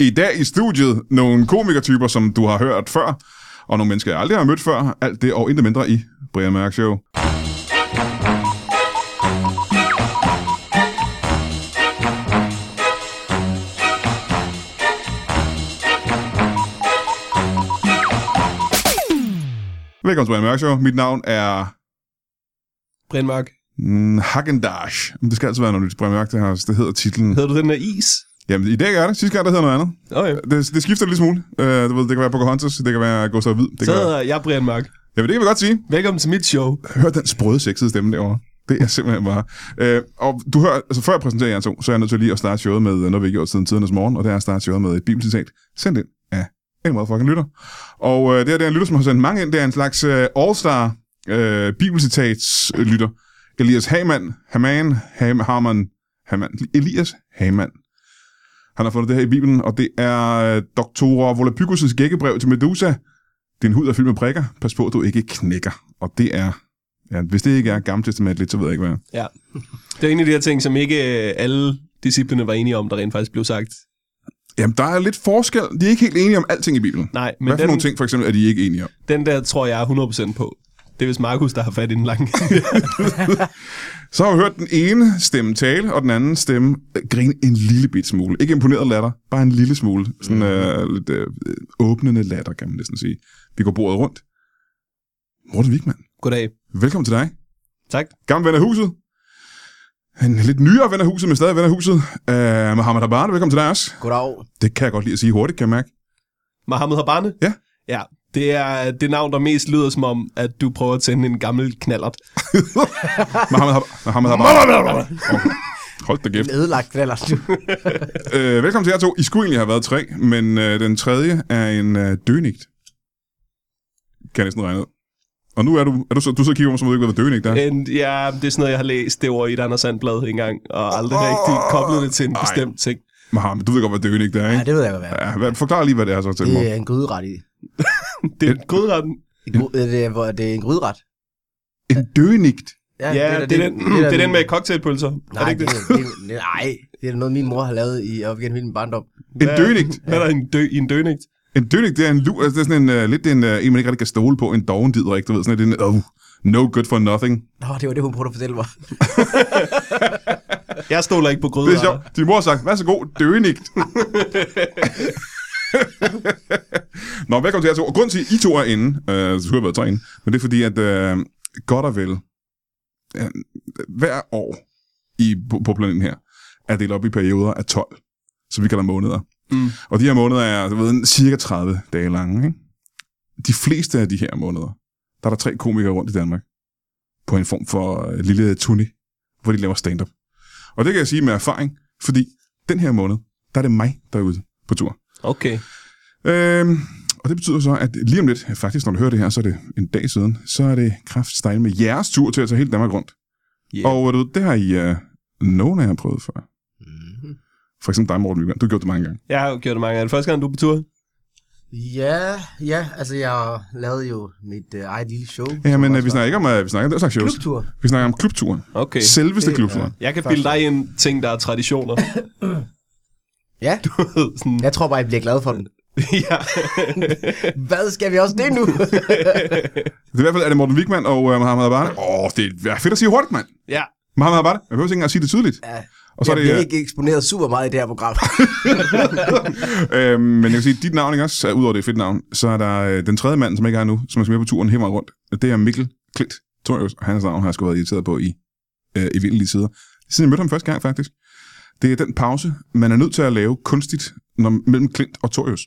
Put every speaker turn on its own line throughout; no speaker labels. I dag i studiet nogle komikertyper, som du har hørt før, og nogle mennesker, jeg aldrig har mødt før. Alt det og intet mindre i Brian Mørk Show. Velkommen til Brian Mørk Show. Mit navn er
Brian Mark,
mm, Hagendash. Men det skal altid være, når du til Brian Mørk, det, her, det hedder titlen.
hedder du den der is?
Jamen, i dag er det. Sidste gang, der hedder noget andet.
Okay.
Det, det skifter lidt smule. Uh, du ved, det kan være Pocahontas, det kan være Gustav Hvid. Det
Så
kan være...
hedder jeg Brian Mark.
Jamen, det kan vi godt sige.
Velkommen til mit show.
Hør den sprøde sexede stemme derovre. Det er simpelthen bare... Øh, og du hører, altså før jeg præsenterer jer to, så er jeg nødt til lige at starte showet med øh, noget, vi ikke har gjort siden tidernes morgen, og det er at starte showet med et bibelcitat sendt ind af en motherfucking lytter. Og øh, det her det er en lytter, som har sendt mange ind. Det er en slags øh, all-star øh, bibelcitatslytter. Elias Hamann, Haman, Ham, Harman, Haman, Elias Hamann. Han har fundet det her i Bibelen, og det er øh, doktor Volapykus' gækkebrev til Medusa. Din hud er fyldt med prikker. Pas på, at du ikke knækker. Og det er Ja, hvis det ikke er gammeltestamentligt, så ved jeg ikke, hvad jeg er.
Ja. Det er en af de her ting, som ikke øh, alle disciplene var enige om, der rent faktisk blev sagt.
Jamen, der er lidt forskel. De er ikke helt enige om alting i Bibelen.
Nej,
Men
men
hvad for
den,
nogle ting, for eksempel, er de ikke enige om?
den der tror jeg er 100% på. Det er vist Markus, der har fat i den lange.
Så har vi hørt den ene stemme tale, og den anden stemme øh, grine en lille bit smule. Ikke imponeret latter, bare en lille smule. Sådan
Mhm.
øh, lidt øh, åbnende latter, kan man næsten sige. Vi går bordet rundt. Morten Wigman,
Goddag.
velkommen til dig.
Tak.
Gammel ven af huset. En lidt nyere ven af huset, men stadig ven af huset. Uh, Mohammed Abad, velkommen til dig også.
Goddag.
Det kan jeg godt lide at sige hurtigt, kan jeg mærke.
Mohammed Habane?
Ja.
Ja, det er det navn, der mest lyder som om, at du prøver at sende en gammel knallert.
Mohammed Hab- Mohammed Abad. Hold da kæft.
En ødelagt knaller.
Øh, velkommen til jer to. I skulle egentlig have været tre, men øh, den tredje er en øh, dønigt. Kan jeg næsten regne ud. Og nu er du, er du så, du så kigger på mig, som om du ikke ved, hvad dønigt
Øh.
er.
En, ja, det er sådan noget, jeg har læst det ord i et Anders Sandblad engang, og aldrig
Åh,
rigtig koblet det til en
ej.
bestemt ting.
Mohammed, du ved godt, hvad dønigt er,
Ja,
ikke?
det ved jeg godt, hvad er.
Ja, hvad, forklar lige, hvad det er så til mig.
Det er en gryderet i.
Det er godretten.
en gry- øh, Det er, hvor- det er en gryderet.
En dønigt.
Ja,
da
det er den, det er den med cocktailpølser. er
Nej,
det
det
ikke det?
er, det, er, det, er, nej, det er da noget, min mor har lavet i, op igennem hele min barndom.
En
Hvad-
dønigt.
Hvad er der i en, dø, i en dønigt?
En dønigt, det er en lur. Altså, det er sådan en, øh, lidt en, øh, en, man ikke rigtig kan stole på. En dovendider, ikke? Du ved, sådan lidt en, oh, no good for nothing.
Nå, det var det, hun prøvede at fortælle mig.
Jeg stoler ikke på gryder.
Det er sjovt. Din mor har sagt, vær så god, dønigt. Nå, velkommen til jer to. Og grunden til, at I to er inde, øh, så skulle jeg have været tre inde, men det er fordi, at øh, godt og vel, øh, hver år i, på, på planeten her, er delt op i perioder af 12, så vi kalder måneder.
Mm.
Og de her måneder er du ved, cirka 30 dage lange. Ikke? De fleste af de her måneder, der er der tre komikere rundt i Danmark, på en form for øh, lille turné, hvor de laver stand-up. Og det kan jeg sige med erfaring, fordi den her måned, der er det mig, der er ude på tur.
Okay.
Øhm, og det betyder så, at lige om lidt, faktisk når du hører det her, så er det en dag siden, så er det kraftstejl med jeres tur til at tage hele Danmark rundt.
Yeah.
Yeah. Og du, ved, det har I, uh, nogen af jer prøvet før.
Mhm.
For eksempel dig, Morten Lykkert. Du har gjort det mange gange.
Jeg har jo gjort det mange gange. Er det første gang, du er på tur?
Ja, ja, altså jeg lavede jo mit øh, eget lille show.
Ja,
som
men
også
uh, vi
var
snakker ikke om, uh, vi snakker om den slags shows.
Klubtur.
Vi snakker om klubturen.
Okay.
Okay. Selveste
Det-
klubturen.
Jeg kan bilde dig ind ting, der er traditioner.
Ja,
Du ved, sådan,
jeg tror bare, jeg bliver glad for den.
ja.
Hvad skal vi også det nu?
Det er i hvert fald er det Morten Wigman og uh, Mohamed Abad. Åh, oh, det er fedt at sige hurtigt, mand.
ja.
Mohamed Abad. Jeg behøver ikke engang at sige det tydeligt.
ja,
Og så
jeg
er det,
bliver
øh,
ikke eksponeret super meget i det her program.
øhm, men jeg kan sige, at dit navn, ikke også? Udover det er et fedt navn, så er der øh, den tredje mand, som ikke er her nu, som er med på turen hele vejen rundt. Det er Mikkel Klint Torius, og hans navn har jeg sgu været irriteret på i øh, evindelige tider. Siden jeg mødte ham første gang, faktisk. Det er den pause, man er nødt til at lave kunstigt når, mellem Klint og Torius.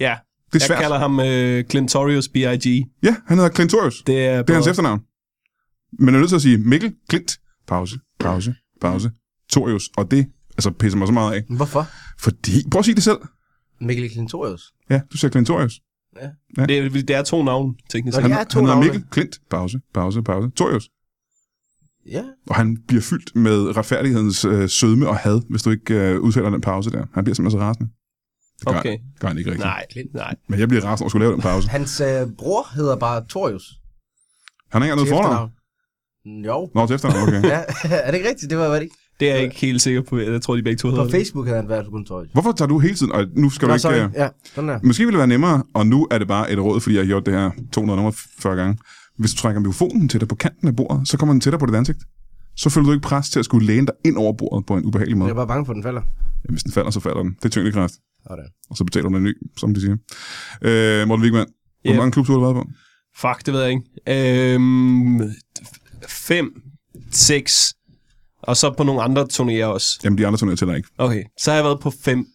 ja.
Det er
Jeg
svært.
kalder ham øh, Clintorius B.I.G.
Ja, han hedder Klint Torius.
Det er,
Det er hans
på-
efternavn. Man er nødt til at sige Mikkel Klint. Pause, pause, pause. Torius. Og det altså, pisser mig så meget af.
Hvorfor?
Fordi, prøv at sige det selv.
Mikkel Klintorius.
Ja, du siger Klint Torius.
det, er, det er to navne, teknisk. set.
Nå,
Han,
Ja, to
han hedder
navne.
Mikkel Klint. Pause, pause, pause. Torius.
Ja,
Og han bliver fyldt med retfærdighedens øh, sødme og had, hvis du ikke øh, udtaler den pause der. Han bliver simpelthen så rasende. Det gør,
Okay.
gør han ikke rigtigt. Nej.
Nej, nej.
Men jeg bliver rasende over at skulle lave den pause.
hans øh, bror hedder bare Torius.
Han har ikke engang noget
Til
fornavn.
efternavn. Jo.
Nå, til efternavn, okay.
Ja, er det ikke rigtigt? Det var, var det ikke?
Det er jeg ikke helt sikker på. Jeg tror, de begge to hedder
På
det.
Facebook havde han været kun tøj.
Hvorfor tager du hele tiden, og nu skal du
Nå,
ikke...
sorry.
øh,
Ja, sådan der.
Måske ville det være nemmere, og nu er det bare et råd, fordi jeg har gjort det her 240 gange. Hvis du trækker mikrofonen til dig på kanten af bordet, så kommer den tættere på dit ansigt. Så føler du ikke pres til at skulle læne dig ind over bordet på en ubehagelig måde.
Jeg er bare bange for, at den falder.
Ja, Hvis den falder, så falder den. Det er tyngdekraft.
Sådan.
Og så betaler man en ny, som de siger. Øh, Morten Wigman, hvor
Ja.
mange klubture har du været på?
Fuck, det ved jeg ikke. Øhm, fem, seks, og så på nogle andre turnéer også.
Jamen, de andre turnerer tæller ikke.
Okay, så har jeg været på fem.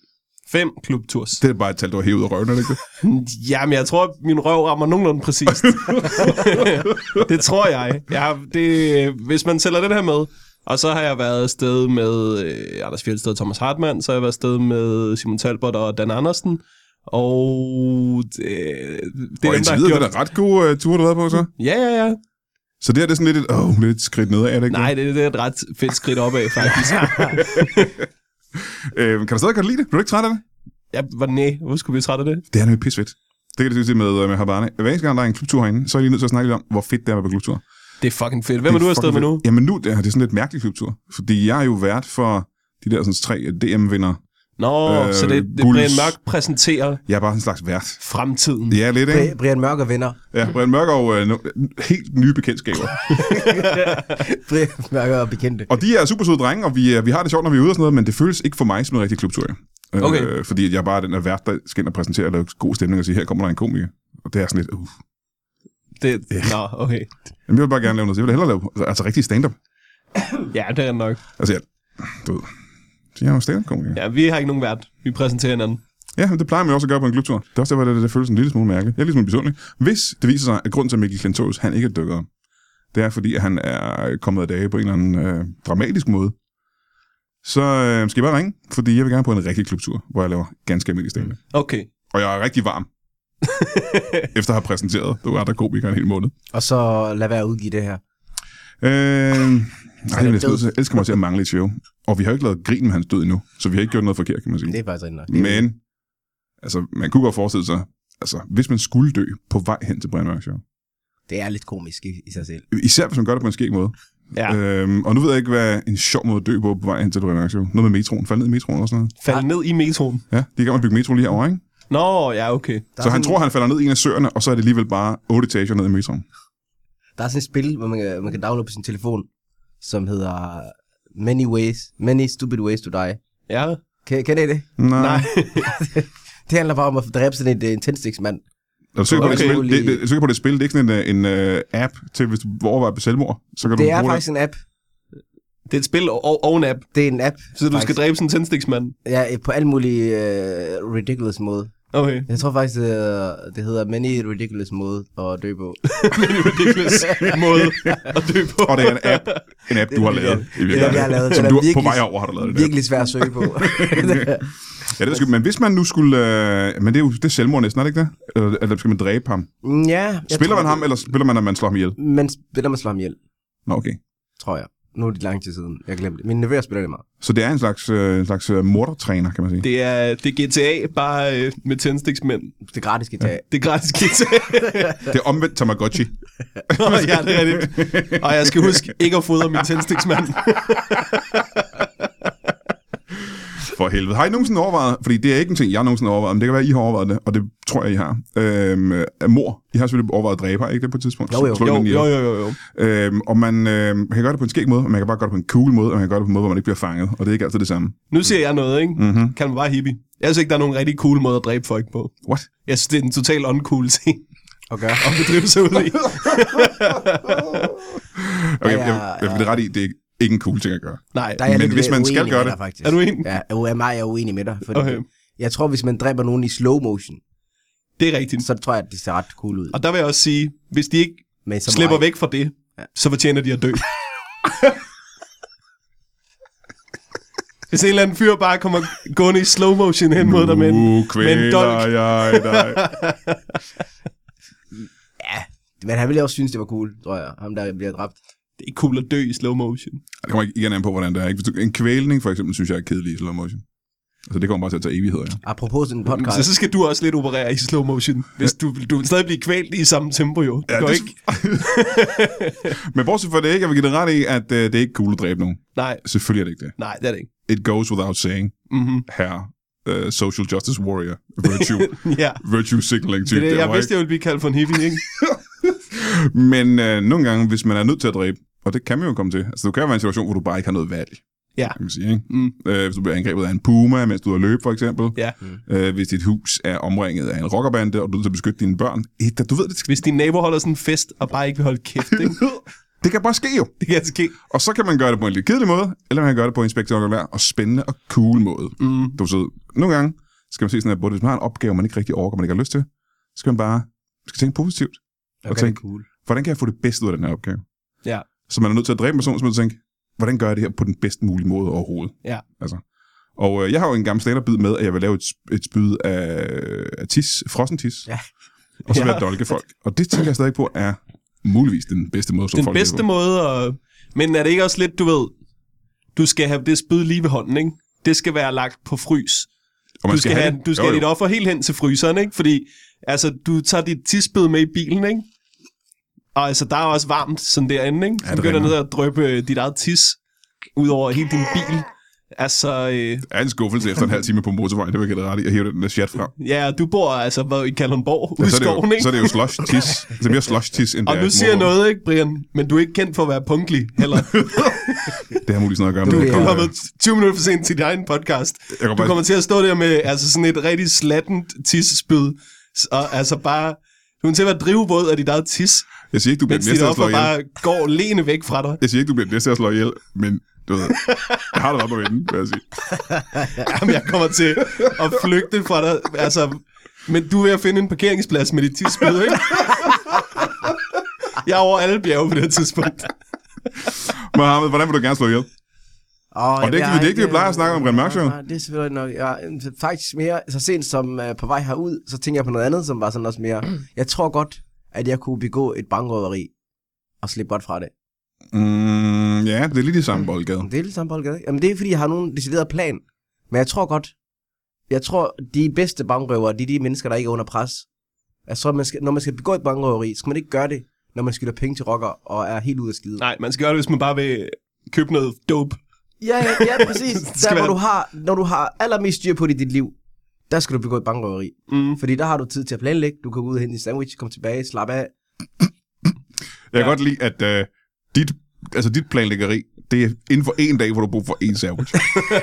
Fem klubtours.
Det er bare et tal, du har hævet ud af røven, er det ikke det?
Jamen, jeg tror, at min røv rammer nogenlunde præcist. det tror jeg. jeg har, det, hvis man tæller det her med, og så har jeg været afsted med øh, Anders Fjeldsted og Thomas Hartmann, så har jeg været afsted med Simon Talbot og Dan Andersen, og øh, det, det
Det
er
og
dem, der
indtil
har
videre, det
gjort...
er da ret gode uh, ture, du har været på, så.
Ja, ja, ja.
Så det her, det er sådan lidt et, åh, oh, lidt et skridt nedad, er det ikke
Nej, det, det er et ret fedt skridt opad, faktisk.
det? Øh, kan du stadig godt lide det? Bliver du ikke træt af det?
ja, hvor, nej, hvorfor skulle vi trætte af det?
Det er nemlig pisfedt. Det kan det sige med, øh, med Habane. Hver eneste gang, der er en klubtur herinde, så er jeg lige nødt til at snakke lidt om, hvor fedt det er at være på klubtur.
Det er fucking fedt. Hvem er du afsted med nu?
Jamen nu, det er, det er sådan lidt mærkelig klubtur. Fordi jeg er jo vært for de der sådan tre DM-vinder.
Nå,
Øh,
øh, så det, det
Bulls.
Brian Mørk præsenterer
Jeg er bare sådan en slags vært.
fremtiden.
Ja, lidt, ikke?
Bri- Brian Mørk og venner.
Ja, Brian Mørk og øh, no, helt nye bekendtskaber.
Brian Mørk og bekendte.
Og de er super søde drenge, og vi, øh, vi har det sjovt, når vi er ude og sådan noget, men det føles ikke for mig som en rigtig klubtur. Øh,
Okay.
fordi at jeg er bare den der vært, der skal ind og præsentere og lave god stemning og sige, her kommer der en komiker. Og det er sådan lidt, uh.
Det, Nå, okay.
Jamen, jeg vil bare gerne lave noget. Jeg vil hellere lave altså, rigtig stand-up.
Ja, det er nok.
Altså, jeg, du ved, så jeg er jo stand-up-komiker.
Ja, vi har ikke nogen vært. Vi præsenterer hinanden.
Ja, men det plejer man jo også at gøre på en klubtur. Det er også derfor, det, det føles en lille smule mærke. Jeg er ligesom besundelig. Hvis det viser sig, at grunden til at Mikkel Klintorius, han ikke er dykket om, det er fordi, at han er kommet af dage på en eller anden øh, dramatisk måde, så øh, skal jeg bare ringe, fordi jeg vil gerne på en rigtig klubtur, hvor jeg laver ganske almindelig stemme. Mm.
Okay.
Og jeg er rigtig varm, efter at have præsenteret. Du er der komiker en hel måned.
Og så lad være at udgive det her.
Øh, nej, jeg,
død.
elsker, jeg elsker mig til at mangle et show. Og vi har jo ikke lavet grin med hans død endnu, så vi har ikke gjort noget forkert, kan man sige.
Det er faktisk rigtig nok. Det er-
Men, altså, man kunne godt forestille sig, altså, hvis man skulle dø på vej hen til Brian Mørk Show.
Det er lidt komisk i, i sig selv.
Især hvis man gør det på en skæg måde.
Ja.
Øhm, og nu ved jeg ikke, hvad en sjov måde at dø på på vej hen til Brian Mørk Show. Noget med metroen. Fald ned i metroen og sådan noget.
Fald ned i metroen.
Ja, de kan man bygge metro lige herovre, ikke?
Nå, ja, okay.
Der
Så
er
han
sådan,
tror, han falder ned i en af søerne, og så er det alligevel bare otte etager ned i metroen.
Der er sådan et spil, hvor man kan, man kan downloade på sin telefon, som hedder Many Ways, Many Stupid Ways to Die.
Ja.
Kan, kan I det?
Nej.
Nej.
Det handler bare om at dræbe sådan en, øh, en tændstiksmand.
Er du sikker på, det, er et
Okay.
spil? det, det, er du sikker på, det er et spil? Det er ikke sådan en, øh, en uh, app til, hvis du overvejer på selvmord. Så kan
Det
du
er
bruge
faktisk en app.
Det er et spil og, og en app,
Det er en app.
så du skal
faktisk.
dræbe sådan en tændstiksmand.
Ja, på alle mulige uh, ridiculous måde.
Okay.
Jeg tror faktisk, det hedder, det hedder Many Ridiculous Måde at dø på.
Men det er ridiculous måde at dø på.
Og det er en app, en app du har lavet. i virkeligheden,
jeg har lavet.
Som
Den er
du har- på
virkelig-
vej over har du lavet det. der.
Virkelig svært at søge på.
Ja, det er sgu, men hvis man nu skulle... Øh, men det er jo det er selvmord næsten, er det ikke det? Eller, eller skal man dræbe ham?
Mm, ja, jeg
Spiller
tror,
man ham, eller spiller man, at man slår ham ihjel?
Man spiller med slår ham ihjel,
Nå, okay.
tror jeg. Nu er det lang tid siden. Jeg glemte det. Min nevøer spiller det meget.
Så det er en slags, øh, en slags øh, mordertræner, kan man sige. Det.
Det er, det er GTA, bare øh, med tændstiksmænd.
Det er gratis guitar. Ja.
Det er gratis GTA.
det er omvendt Tamagotchi.
Nå, ja, det er rigtigt. Og jeg skal huske ikke at fodre min tændstiksmand.
For helvede. Har I nogensinde overvejet, fordi det er ikke en ting, jeg nogensinde har overvejet, men det kan være, I har overvejet det, og det tror jeg, I har. Øhm, er mor. I har selvfølgelig overvejet at dræbe, har I ikke det på et tidspunkt?
Jo, jo.
Slå
Jo,
hinanden ihjel.
jo, jo, jo, jo.
Øhm, og man øh, kan gøre det på en skæg måde, og man kan bare gøre det på en cool måde, og man kan gøre det på en måde, hvor man ikke bliver fanget, og det er ikke altid det samme.
Nu siger jeg noget, ikke?
Mhm.
Kan man bare hippie. Jeg synes ikke, der er nogen rigtig cool måde at dræbe folk på.
What?
Jeg synes, det er en total uncool ting
Okay.
at bedrive sig ud i.
Okay,
Ja,
jeg, jeg, jeg, vil det ret i, det er ikke en cool ting at gøre.
Nej,
Der er jeg
Men
lidt
hvis man
uenig
skal gøre
med
det-
dig, faktisk.
er du en?
Ja, jo, jeg er meget uenig med dig. Fordi
Okay.
okay. Jeg tror, hvis man dræber nogen i slow motion,
Det er rigtigt.
så tror jeg, at det ser ret cool ud.
Og der vil jeg også sige, hvis de ikke
Men så
slipper
meget-
væk fra det,
Ja.
så fortjener de at dø. Hvis en eller anden fyr bare kommer gående i slow motion hen mod dig med en,
Nu
med en
Uh, kvæler
dolk.
jeg dig.
Men han ville også synes, det var cool, tror jeg. Ham, der bliver dræbt.
Det er ikke cool at dø i slow motion.
Det kommer ikke igen an på, hvordan det er. Ikke? Hvis du- En kvælning, for eksempel, synes jeg er kedelig i slow motion. Altså, det kommer bare til at tage evigheder, ja.
Apropos
Mm,
en
Så,
podcast.
så skal du også lidt operere i slow motion, hvis du, du vil stadig blive kvalt i samme tempo, jo. Det
Ja,
ja, går
det-
ikke.
Men bortset fra det ikke, jeg vil give det ret i, at øh, det er ikke cool at dræbe nogen.
Nej,
Selvfølgelig er det ikke det.
nej, det er det ikke.
It goes without saying,
Mm-hmm.
her øh, social justice warrior, virtue,
Ja.
virtue signaling
Det
type.
er det, jeg
derovre,
vidste, jeg ville blive kaldt for en hippie, ikke?
ikke? Men øh, nogle gange, hvis man er nødt til at dræbe, og det kan man jo komme til, altså du kan jo være i en situation, hvor du bare ikke har noget valg.
Ja.
Kan man sige, ikke?
Mm.
Øh, hvis du bliver angrebet af en puma, mens du er løb for eksempel.
Ja.
Øh, hvis dit hus er omringet af en rockerbande, og du er nødt til at beskytte dine børn. Et, du ved, det,
Hvis din nabo holder sådan en fest, og bare ikke vil holde kæft, ikke?
det kan bare ske jo.
Det kan ske.
Og så kan man gøre det på en lidt kedelig måde, eller man kan gøre det på en spektakulær og spændende og cool måde.
Mm.
Du ved, nogle gange skal man se sådan her, både hvis man har en opgave, man ikke rigtig overgår, man ikke har lyst til, så skal man bare man skal tænke positivt.
Okay,
og
det
tænk,
er cool.
hvordan kan jeg få det bedste ud af den her opgave?
Ja.
Så man er nødt til at dræbe en person, så man tænker, hvordan gør jeg det her på den bedst mulige måde overhovedet?
Ja.
Altså. Og øh, jeg har jo en gammel standardbid med, at jeg vil lave et, sp- et spyd af, af tis, frossen tis.
Ja.
Og så vil
Ja.
jeg dolke folk. Og det tænker jeg stadig på er muligvis den bedste måde, som
Den
folk
bedste
måde.
måde at... Men er det ikke også lidt, du ved, du skal have det spyd lige ved hånden, ikke? Det skal være lagt på frys.
Og
Du skal, have, du skal
jo,
have dit
jo.
offer helt hen til fryseren, ikke? Fordi, altså, du tager dit tidsbid med i bilen, ikke? Og altså, der er også varmt sådan derinde, ikke? Så
det
ja, begynder
ringer.
ned at drøbe dit eget tis ud over hele din bil. Altså, øh,
er en skuffelse efter en halv time på motorvejen, det vil jeg give dig ret i, at hive den der chat frem.
ja, og du bor altså hvor, i Kalundborg, ja, ude i
så, er det
skoven,
jo,
ikke?
så er det jo slush tis. Det er mere slush tis, end
og
det
nu
er
siger jeg
mor-
noget, ikke, Brian? Men du er ikke kendt for at være punktlig heller.
Det har muligvis noget at gøre
Du
med.
er
Du
Jeg
har
kommer-
været 20 minutter for sent til din egen podcast.
Jeg
Du
kommer bare,
kommer til at stå der med altså sådan et rigtig slattent tissespyd. Og altså bare... Du kommer til at være drivvåd af dit eget tis,
jeg siger ikke, du bliver
mens
den
dit
næste, at slå
offer
ihjel.
bare går lene væk fra dig.
Jeg siger ikke, du bliver den næste, at slå ihjel, men du ved, jeg har det op at vende, vil jeg sige.
Jamen, jeg kommer til at flygte fra dig. Altså, men du er ved at finde en parkeringsplads med dit tissespyd, ikke? Jeg er over alle bjerge på det her tidspunkt.
Mohammed, hvordan vil du gerne slå ihjel?
Og,
det er ikke- det er ikke det, vi plejer at snakke om, Brian Mørk Show.
Nej, det er selvfølgelig nok. Ja, faktisk mere, så sent som øh, på vej herud, så tænker jeg på noget andet, som var sådan også mere, jeg tror godt, at jeg kunne begå et bankrøveri og slippe godt fra det.
Mm, ja, det er lige det samme boldgade.
Men Det er lidt samme boldgade. Jamen det er fordi, jeg har nogen decideret plan. Men jeg tror godt, jeg tror, de bedste bankrøvere, det er de mennesker, der ikke er under pres. Jeg tror, man skal, når man skal begå et bankrøveri, skal man ikke gøre det, når man skylder penge til rocker og er helt ude af skide.
Nej, man skal gøre det, hvis man bare vil købe noget dope.
Ja, ja, ja, præcis.
Det skal
der, hvor
være-
du har, når du har allermest styr på det i dit liv, der skal du begå et bankrøveri.
Mm.
Fordi der har du tid til at planlægge. Du kan gå ud og hente en sandwich, komme tilbage, slappe af.
Jeg kan godt lide, at øh, dit, altså dit planlæggeri, det er inden for en dag, hvor du har brug for en sandwich.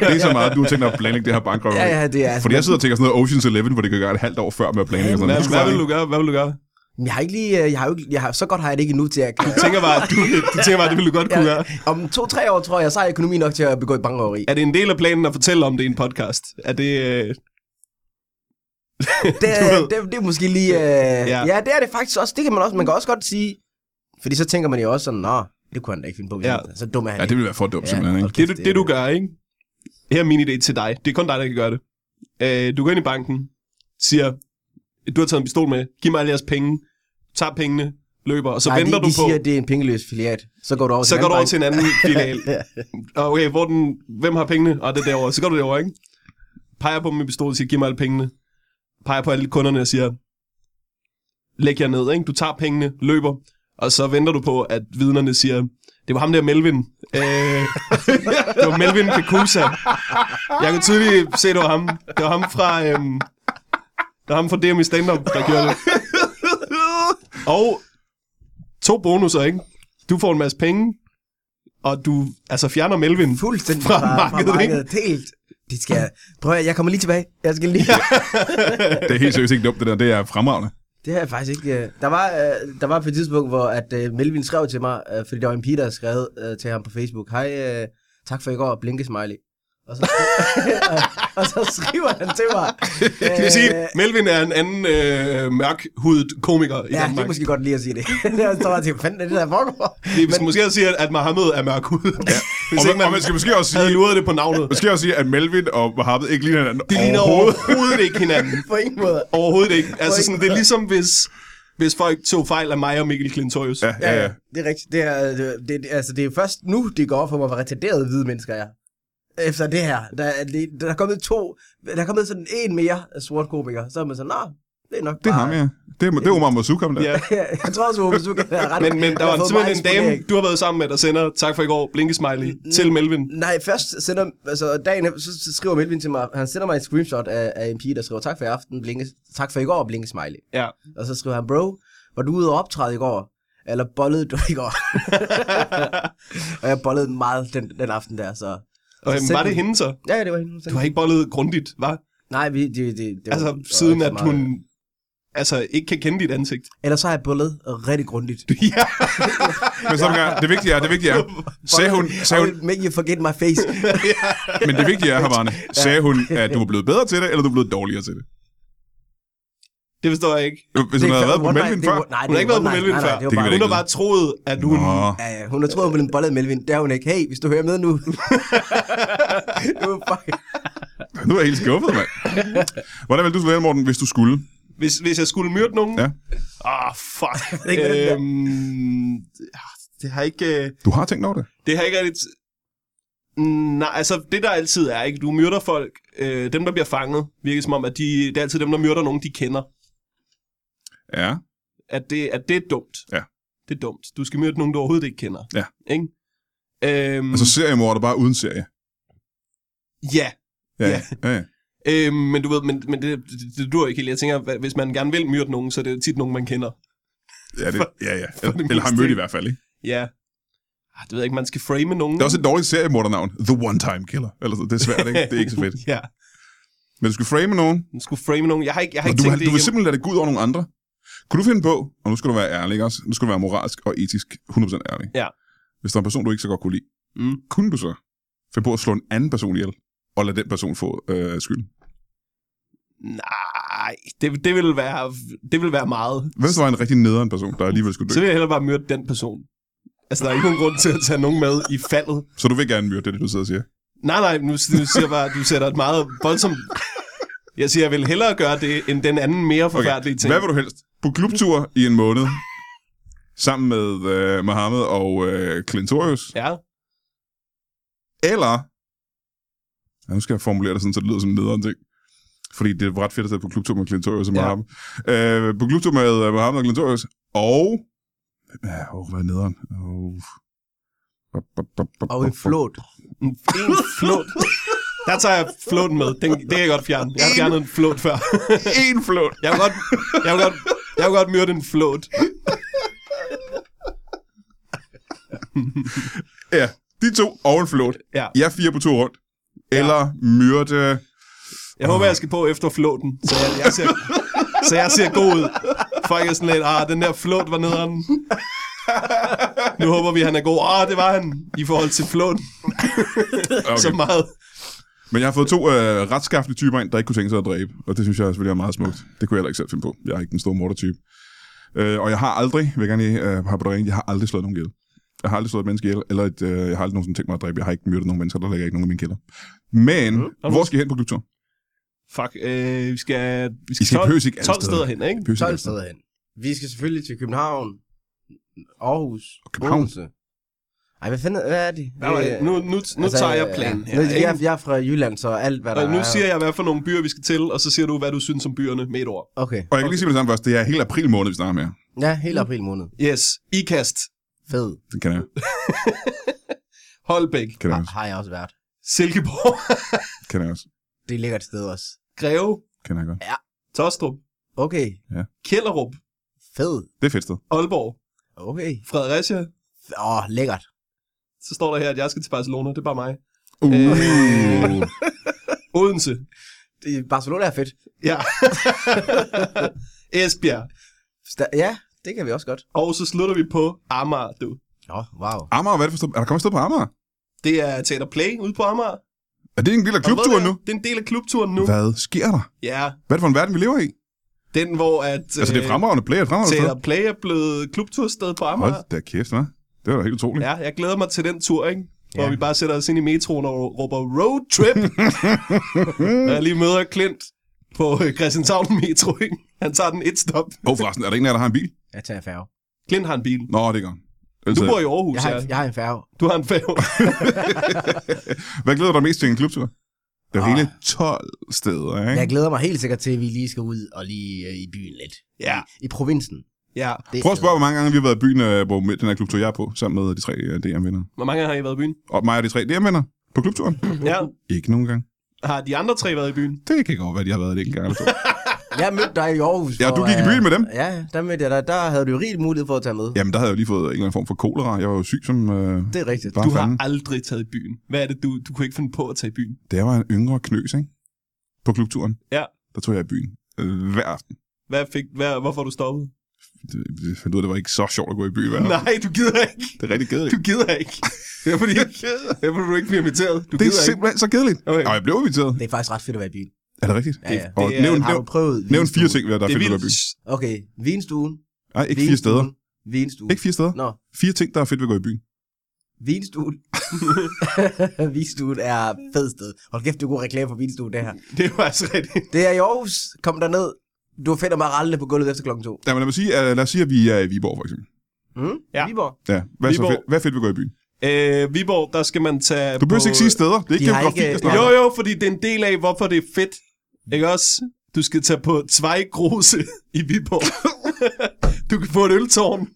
det er så meget, du har tænkt dig at planlægge det her bankrøveri.
Ja, ja, det er
Fordi jeg sidder og tænker sådan noget Ocean's Eleven, hvor det kan gøre et halvt år før med at planlægge. og sådan
Hvad,
noget.
hvad vil du gøre? Hvad vil du gøre?
Men jeg har ikke lige, øh, jeg har jo ikke, jeg har, så godt har jeg det ikke nu til at...
Du tænker bare, at du, du tænker bare, at det ville du godt kunne gøre.
Jeg, om to-tre år, tror jeg, så har jeg økonomi nok til at begå et bankrøveri.
Er det en del af planen at fortælle om det i en podcast? Er det... Øh...
det,
Du ved.
det, det, er måske lige... Øh, ja. ja. det er det faktisk også. Det kan man også. Man kan også godt sige... Fordi så tænker man jo også sådan, nå, det kunne han da ikke finde på. hvis
Ja.
han- Så dum er han.
Ja, det vil være for dumt,
Ja,
simpelthen. Ikke?
hold
Det,
kæft,
du, det, du gør, ikke? Her er min idé til dig. Det er kun dig, der kan gøre det. Øh, du går ind i banken, siger, du har taget en pistol med, giv mig alle jeres penge, tager pengene, løber, og så
Nej,
Nej, venter
de,
du
de
på...
siger, at det er en pengeløs filiat. Så går du over
Så
til
går
en
du over
anden
til en anden filial. Og Okay, hvor den, hvem har pengene? Og det er derovre. Så går du derovre, ikke? Peger på dem med pistol og siger, giv mig alle pengene. Peger på alle kunderne og siger, læg jer ned, ikke? Du tager pengene, løber, og så venter du på, at vidnerne siger, det var ham der Melvin. Øh, det var Melvin Pekusa. Jeg kunne tydeligt se, det var ham. Det var ham fra... Øhm, det var ham fra DM i stand-up, der gjorde det. Og to bonusser, ikke? Du får en masse penge, og du altså fjerner Melvin.
bank. Fuldstændig
Fra
fra, fra markedet,
markedet,
fra markedet. Helt. Det skal jeg... Prøv at, jeg kommer lige tilbage. Jeg skal lige...
Det er helt seriøst ikke dumt, det der. Det er fremragende.
Det har jeg faktisk ikke... øh. Der var, øh, der var på et tidspunkt, hvor at, øh, Melvin skrev til mig, øh, fordi der var en pige, der skrev øh, til ham på Facebook, hej, øh, tak for i går, blinke smiley. Og så, og, og så skriver han til mig...
Det vil sige,
øh,
Melvin er en anden øh, mørkhudet komiker i
Ja, det er
Danmark.
måske godt lige at sige det. jeg står bare og tænker, hvad fanden er det, der foregår?
Det er men... måske at sige, at Mohammed er mørkhudet. Ja. Hvis
Og,
ikke
man,
man,
og man skal måske også sige,
havde luret det på navnet.
måske også sige, at Melvin og Mohammed ikke ligner hinanden
De ligner
overhovedet.
overhovedet ikke hinanden.
På ingen måde.
Overhovedet ikke. Altså
ikke.
sådan, det er ligesom hvis, hvis folk tog fejl af mig og Mikkel Klintorius.
Ja, ja, ja.
Det er rigtigt. Det er, øh, det, det, altså, det er først nu, det går op for mig, hvor retarderet hvide mennesker er. efter det her. Der er, lige- der er kommet to, der er kommet sådan en mere af sort komiker. Så er man sådan, nej, det er nok
Det er
bare...
ham, ja. Det er, det er Omar Mazzucam, der.
Ja.
jeg tror også, at du kan være ret.
Men, men der
Han
var
har fået
simpelthen en
meget
dame,
eksponering.
du har været sammen med, der sender tak for i går, blinkesmiley, til Melvin.
Nej, først sender, altså dagen efter, så så skriver Melvin til mig, han sender mig et screenshot af, af en pige, der skriver, tak for i aften, blinke, tak for i går, blinke smiley.
Ja.
Og så skriver han, bro, var du ude og optræde i går? Eller bollede du i går? og jeg bollede meget den, den aften der, så...
Og,
så
jamen,
sendte
var det
hun-
hende så?
Ja, ja, det var hende. hun
Du
sendte.
har ikke bollet grundigt, var?
Nej, vi, det, det, det, var-
Altså,
det var
siden
ikke så
at
meget.
hun altså, ikke kan kende dit ansigt.
Ellers så har jeg bollet rigtig grundigt.
ja.
Men sådan gang, det vigtige er, det vigtige er, sagde hun, sagde hun,
I will make you forget my face.
men det vigtige er, Havane, sagde hun, at du var blevet bedre til det, eller du er blevet dårligere til det?
Det forstår jeg ikke.
Hvis hun
Det er
havde været på
one night-
Melvin
det er
før,
one- Nej,
Hun har ikke været på Melvin før.
Det kan vi
Hun
da
har
ikke
bare troet, at hun...
Nå.
Ja, ja, hun har troet, hun ville bolle Melvin. Det er hun ikke. Hey, hvis du hører med nu. det var fucking...
nu er jeg helt skuffet, mand. Hvordan ville du slå ihjel, Morten, hvis du skulle?
Hvis, hvis jeg skulle myrde nogen...
Ja.
Ah, fuck.
ikke den der.
øhm, ah, det har ikke... øh,
Du har tænkt over det?
Det har ikke rigtig... Mm, Nej, altså det der altid er, ikke? Du myrder folk. Øh, dem, der bliver fanget, virker som om, at de, det er altid dem, der myrder nogen, de kender.
Ja.
At det, at det er dumt.
Ja.
Det er dumt. Du skal myrde nogen, du overhovedet ikke kender.
Ja.
Ikke? Øhm,
Altså seriemorder bare uden serie.
Ja.
Ja, ja.
Ja.
ja, ja.
Øhm, men du ved, men, men det, det, det dur ikke helt. Jeg tænker, hva- hvis man gerne vil myrde nogen, så er det tit nogen, man kender.
ja, det, ja, ja.
for det
Eller har
meste,
mødt i
ikke?
hvert fald, ikke?
Ja. Ah, det ved jeg ikke, man skal frame nogen.
Det er også et dårligt seriemordernavn. The One Time Killer. Eller, så- det er svært, ikke? Det er ikke så fedt.
ja,
Men du skal frame nogen,
man skulle frame nogen. Jeg har ikke, jeg har
og
ikke
du,
tænkt
har-
det
du vil
igennem.
simpelthen lade det gå ud over nogle andre. Kunne du finde på, og nu skal du være ærlig, ikke også? Nu skal du være moralsk og etisk 100% ærlig.
Ja.
Hvis der er en person, du ikke så godt kunne lide,
Mm.
kunne du så finde på at slå en anden person ihjel, og lade den person få øh, skylden?
Nej, det, det, vil være, det vil være meget.
Hvem så var en rigtig nederen person, der alligevel skulle dø?
Så vil jeg hellere bare myrde den person. Altså, der er ikke nogen grund til at tage nogen med i faldet.
Så du vil gerne myrde det, er det du sidder og siger.
Nej, nej, nu, nu siger jeg bare, at du sætter et meget voldsomt... Jeg siger, jeg vil hellere gøre det, end den anden mere forfærdelige ting.
Hvad vil du helst? På klubtur i en måned, sammen med øh, Mohammed og øh, Clintorius,
Ja,
eller... Ja, nu skal jeg formulere det sådan, så det lyder som en nederen ting. Fordi det er ret fedt at sætte på klubtur med Clintorius og
Ja.
Mohammed. Øh, på klubtur med øh, Mohammed og Clintorius, og... Ja, åh, hvad er nederen? Oh.
Og en flot.
en, en flot. Der tager jeg flåten med. Den, det kan jeg godt fjerne. Jeg har fjernet en flot før.
En flot.
Jeg vil godt, jeg vil godt, jeg vil godt myrde en flot.
Ja, de to og en flot.
Ja.
Jeg er fire på to rundt. Eller myrde...
Jeg håber, jeg skal på efter flåten, så jeg, jeg, ser, så jeg ser god ud. Folk er sådan lidt, ah, den der flåt var nederen. Nu håber vi, han er god. Ah, det var han i forhold til flåten. Okay. Så meget.
Men jeg har fået to øh, retskaffende typer ind, der ikke kunne tænke sig at dræbe, og det synes jeg selvfølgelig er meget smukt. Det kunne jeg heller ikke selv finde på. Jeg er ikke den store mordertype. Øh, og jeg har aldrig, vil jeg gerne lige øh, have på det rene, jeg har aldrig slået nogen ihjel. Jeg har aldrig slået et menneske ihjel, eller et, øh, jeg har aldrig nogensinde tænkt mig at dræbe. Jeg har ikke myrdet nogen mennesker, der ligger ikke nogen i min kælder. Men, mm, hvor skal I hen på klubtur?
Fuck, øh, vi skal, vi skal,
I skal
12,
pøse ikke alle
12
steder.
steder hen, ikke?
Pøse
12
steder.
steder hen. Vi skal selvfølgelig til København, Aarhus,
København?
Odense. Ej, hvad fanden hvad er det?
Hvad var det? Nu, nu, nu altså, tager jeg planen her,
nu, øh, jeg,
ikke?
jeg er fra Jylland, så alt hvad der
Og nu
er...
siger jeg, hvad for nogle byer vi skal til, og så siger du, hvad du synes om byerne med et ord.
Okay.
Og jeg kan lige sige med det samme først, det er hele april måned, vi snakker med jer.
Ja, hele april måned.
Yes, Ikast,
Fed.
Det kan jeg.
Holbæk,
Kan jeg
Har,
også.
har jeg også været.
Silkeborg,
Kan jeg også.
Det ligger et sted også.
Greve,
Kan jeg godt.
Tostrup,
Okay.
Kjellerup,
Fed.
Det er fedt sted.
Aalborg,
Okay.
Fredericia,
Åh, oh, lækkert.
så står der her, at jeg skal til Barcelona. Det er bare mig.
Uh.
Øh. Odense.
Det- Barcelona er fedt.
Ja. Esbjerg.
Sta- ja, det kan vi også godt.
Og så slutter vi på Amager, du.
Nå, wow.
Amager, hvad er det for sted? Er der kommet et sted på Amager?
Det er Teater Play ude på Amager.
Er det en del af
Og ved
klubturen
du
nu?
hvad? Det er en del af klubturen nu.
Hvad sker der?
Ja,
Hvad er det for en verden, vi lever i?
den hvor at
Altså, det er
øh,
fremragende play, et fremragende sted.
Teater Play er blevet klubtursted på Amager.
Hold da kæft, hva'? Det var da helt utroligt. Ja.
Ja, jeg glæder mig til den tur, ikke? Hvor
Ja.
vi bare sætter os ind i metroen og råber road trip. og jeg lige møder Klint på øh, Christianshavn metro, ikke? Han tager den et stop.
Og forresten, er der en af jer, der har en bil?
Jeg tager færge.
Klint har en bil.
Nå, det gør han.
Du
Altså,
bor i Aarhus,
Jeg har,
ja.
en- jeg har en færge.
Du har en færge.
Hvad glæder du dig mest til i en klubtur? Det er jo
Ah.
hele 12 steder, ikke?
Jeg glæder mig helt sikkert til, at vi lige skal ud og lige øh, i byen lidt.
ja,
I provinsen.
ja.
Det er
Prøv at spørge,
federe.
hvor mange gange vi har været i byen, øh, hvor med den her klubtur jeg er på, sammen med de tre DM-vinder.
Hvor mange gange har I været i byen?
Og mig og de tre DM-vinder på klubturen?
Ja.
Ikke nogen gang.
Har de andre tre været i byen?
Det kan godt være, de har været det en gang eller to.
Jeg mødte dig i Aarhus.
Ja,
hvor,
du gik i
øh,
byen med dem.
Ja, der mødte jeg dig. Der havde du jo rig mulighed for at tage med.
Jamen, der havde jeg jo lige fået en eller anden form for kolera. Jeg var jo syg som... Øh,
Det er rigtigt.
bare
Du
du
har
fanden.
aldrig taget i byen. Hvad er det, du, du kunne ikke finde på at tage i byen?
Da jeg var en yngre knøs, ikke? På klubturen.
Ja.
Der tog jeg i byen. Øh, hver aften.
Hvad fik, hvad, hvorfor er du stoppet?
Det, jeg fandt ud af, det var ikke så sjovt at gå i byen hver aften.
Nej, du gider ikke.
Det er rigtig kedeligt.
Du gider ikke. Det er fordi, det er, fordi du ikke bliver inviteret. Du
Det er
gider ikke.
simpelthen så kedeligt.
Okay.
Og jeg blev inviteret.
Det er faktisk ret fedt at være i byen.
Er det rigtigt?
Ja, ja.
Og
Det er-
nævn,
Har
nævn,
du prøvet
nævn fire
vinstuen?
ting, hvad der er
Det er
fedt ved at gå i byen.
vildt.
Okay, vinstuen.
Nej, ikke fire steder.
Vinstuen.
Ikke fire steder.
Nå,
Fire ting, der er fedt ved at gå i byen.
vinstuen. vinstuen er fed sted. Hold kæft, det er god reklame for vinstuen, det her.
Det er jo altså rigtigt.
Det er i Aarhus. Kom derned. Du har fedt at marallene på gulvet efter klokken to.
Jamen, lad, mig sige, at, lad os sige, at vi er i Viborg, for eksempel.
Mm?
Ja.
Viborg.
Ja, hvad, er så
Viborg.
fedt, hvad er fedt ved at gå i byen?
Øh, Viborg, der skal man tage
Du behøver
på-
ikke sige steder. Det er ikke
De har
geografi,
ikke-
jeg
Jo,
snakker.
jo, fordi det er en del af, hvorfor det er fedt. Ikke også? Du skal tage på Tvejgrose i Viborg. du kan få et øltårn,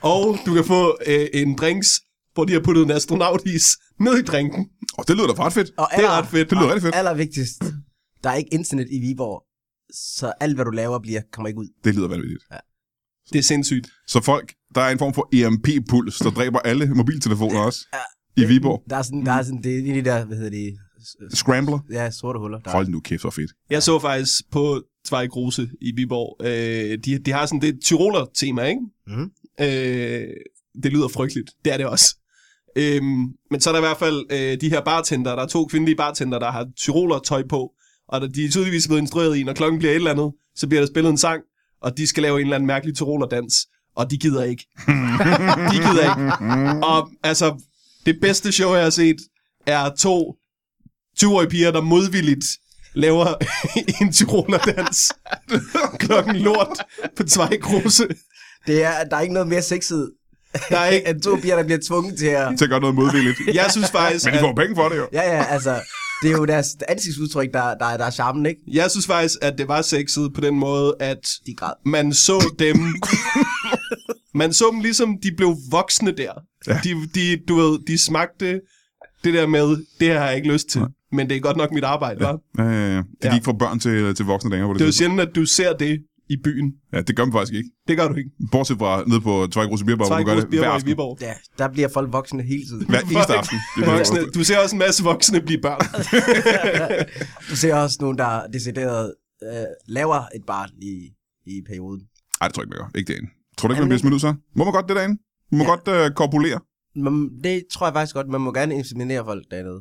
og du kan få øh, en drinks, hvor de har puttet en astronautis ned i drinken.
Og det lyder da ret fedt.
Og
Det er ret fedt.
Det lyder rigtig fedt.
Allervigtigst, der er ikke internet i Viborg, så alt hvad du laver bliver, kommer ikke ud.
Det lyder vanvittigt.
Det er sindssygt.
Så folk, der er en form for EMP-puls, der dræber alle mobiltelefoner også. I Viborg.
Der er sådan, der er sådan, det er lige de der, hvad hedder det, s- s-
Scrambler.
ja, sorte huller. Der.
Hold nu kæft, så fedt.
Jeg så faktisk på Tvejgrose i Viborg. Øh, de, de har sådan det Tyroler-tema, ikke?
Mhm.
Øh, det lyder frygteligt. Det er det også. Øhm, men så er der i hvert fald øh, de her bartender. Der er to kvindelige bartender, der har Tyroler-tøj på. Og der- de er tydeligvis blevet instrueret i, når klokken bliver et eller andet, så bliver der spillet en sang, og de skal lave en eller anden mærkelig Tyroler-dans. Og de gider ikke. de gider ikke. Og altså, det bedste show, jeg har set, er to 20-årige piger, der modvilligt laver en tyrolerdans klokken lort på Tvejgrose.
Det er, der er ikke noget mere sexet,
Der er ikke,
end to piger, der bliver tvunget til at...
Til at gøre noget modvilligt.
jeg synes faktisk,
Men de
at,
får penge for det jo.
Ja, ja, altså, det er jo deres ansigtsudtryk, der, der, der er charmen, ikke?
jeg synes faktisk, at det var sexet på den måde, at
De græd.
man så dem... Man så dem ligesom, de blev voksne der.
Ja.
De, de, du ved, de smagte det der med, det her har jeg ikke lyst til, men det er godt nok mit arbejde, ja.
Ja, ja, ja. De
Ja.
gik fra børn til, til voksne længere på det,
Det er jo
tidspunkt.
sjældent, at du ser det i byen.
Ja, det gør man faktisk ikke.
Det gør du ikke.
Bortset fra nede på Tvejgrus Bierbar, hvor du gør
Tvejgrose
det hver
Birborg i
aften.
Viborg.
Ja, der bliver folk voksne hele tiden.
Hver eneste aften. Det er
Voksne.
faktisk-
Du ser også en masse voksne blive børn.
Du ser også nogen, der decideret øh, laver et barn i, i perioden.
Ej, det tror jeg ikke, man gør. Ikke derinde. Tror du ikke, man bliver smidt ud så? Må man godt det derinde? Må man
Ja.
godt øh, korpulere?
Men det tror jeg faktisk godt, man må gerne inseminere folk dernede.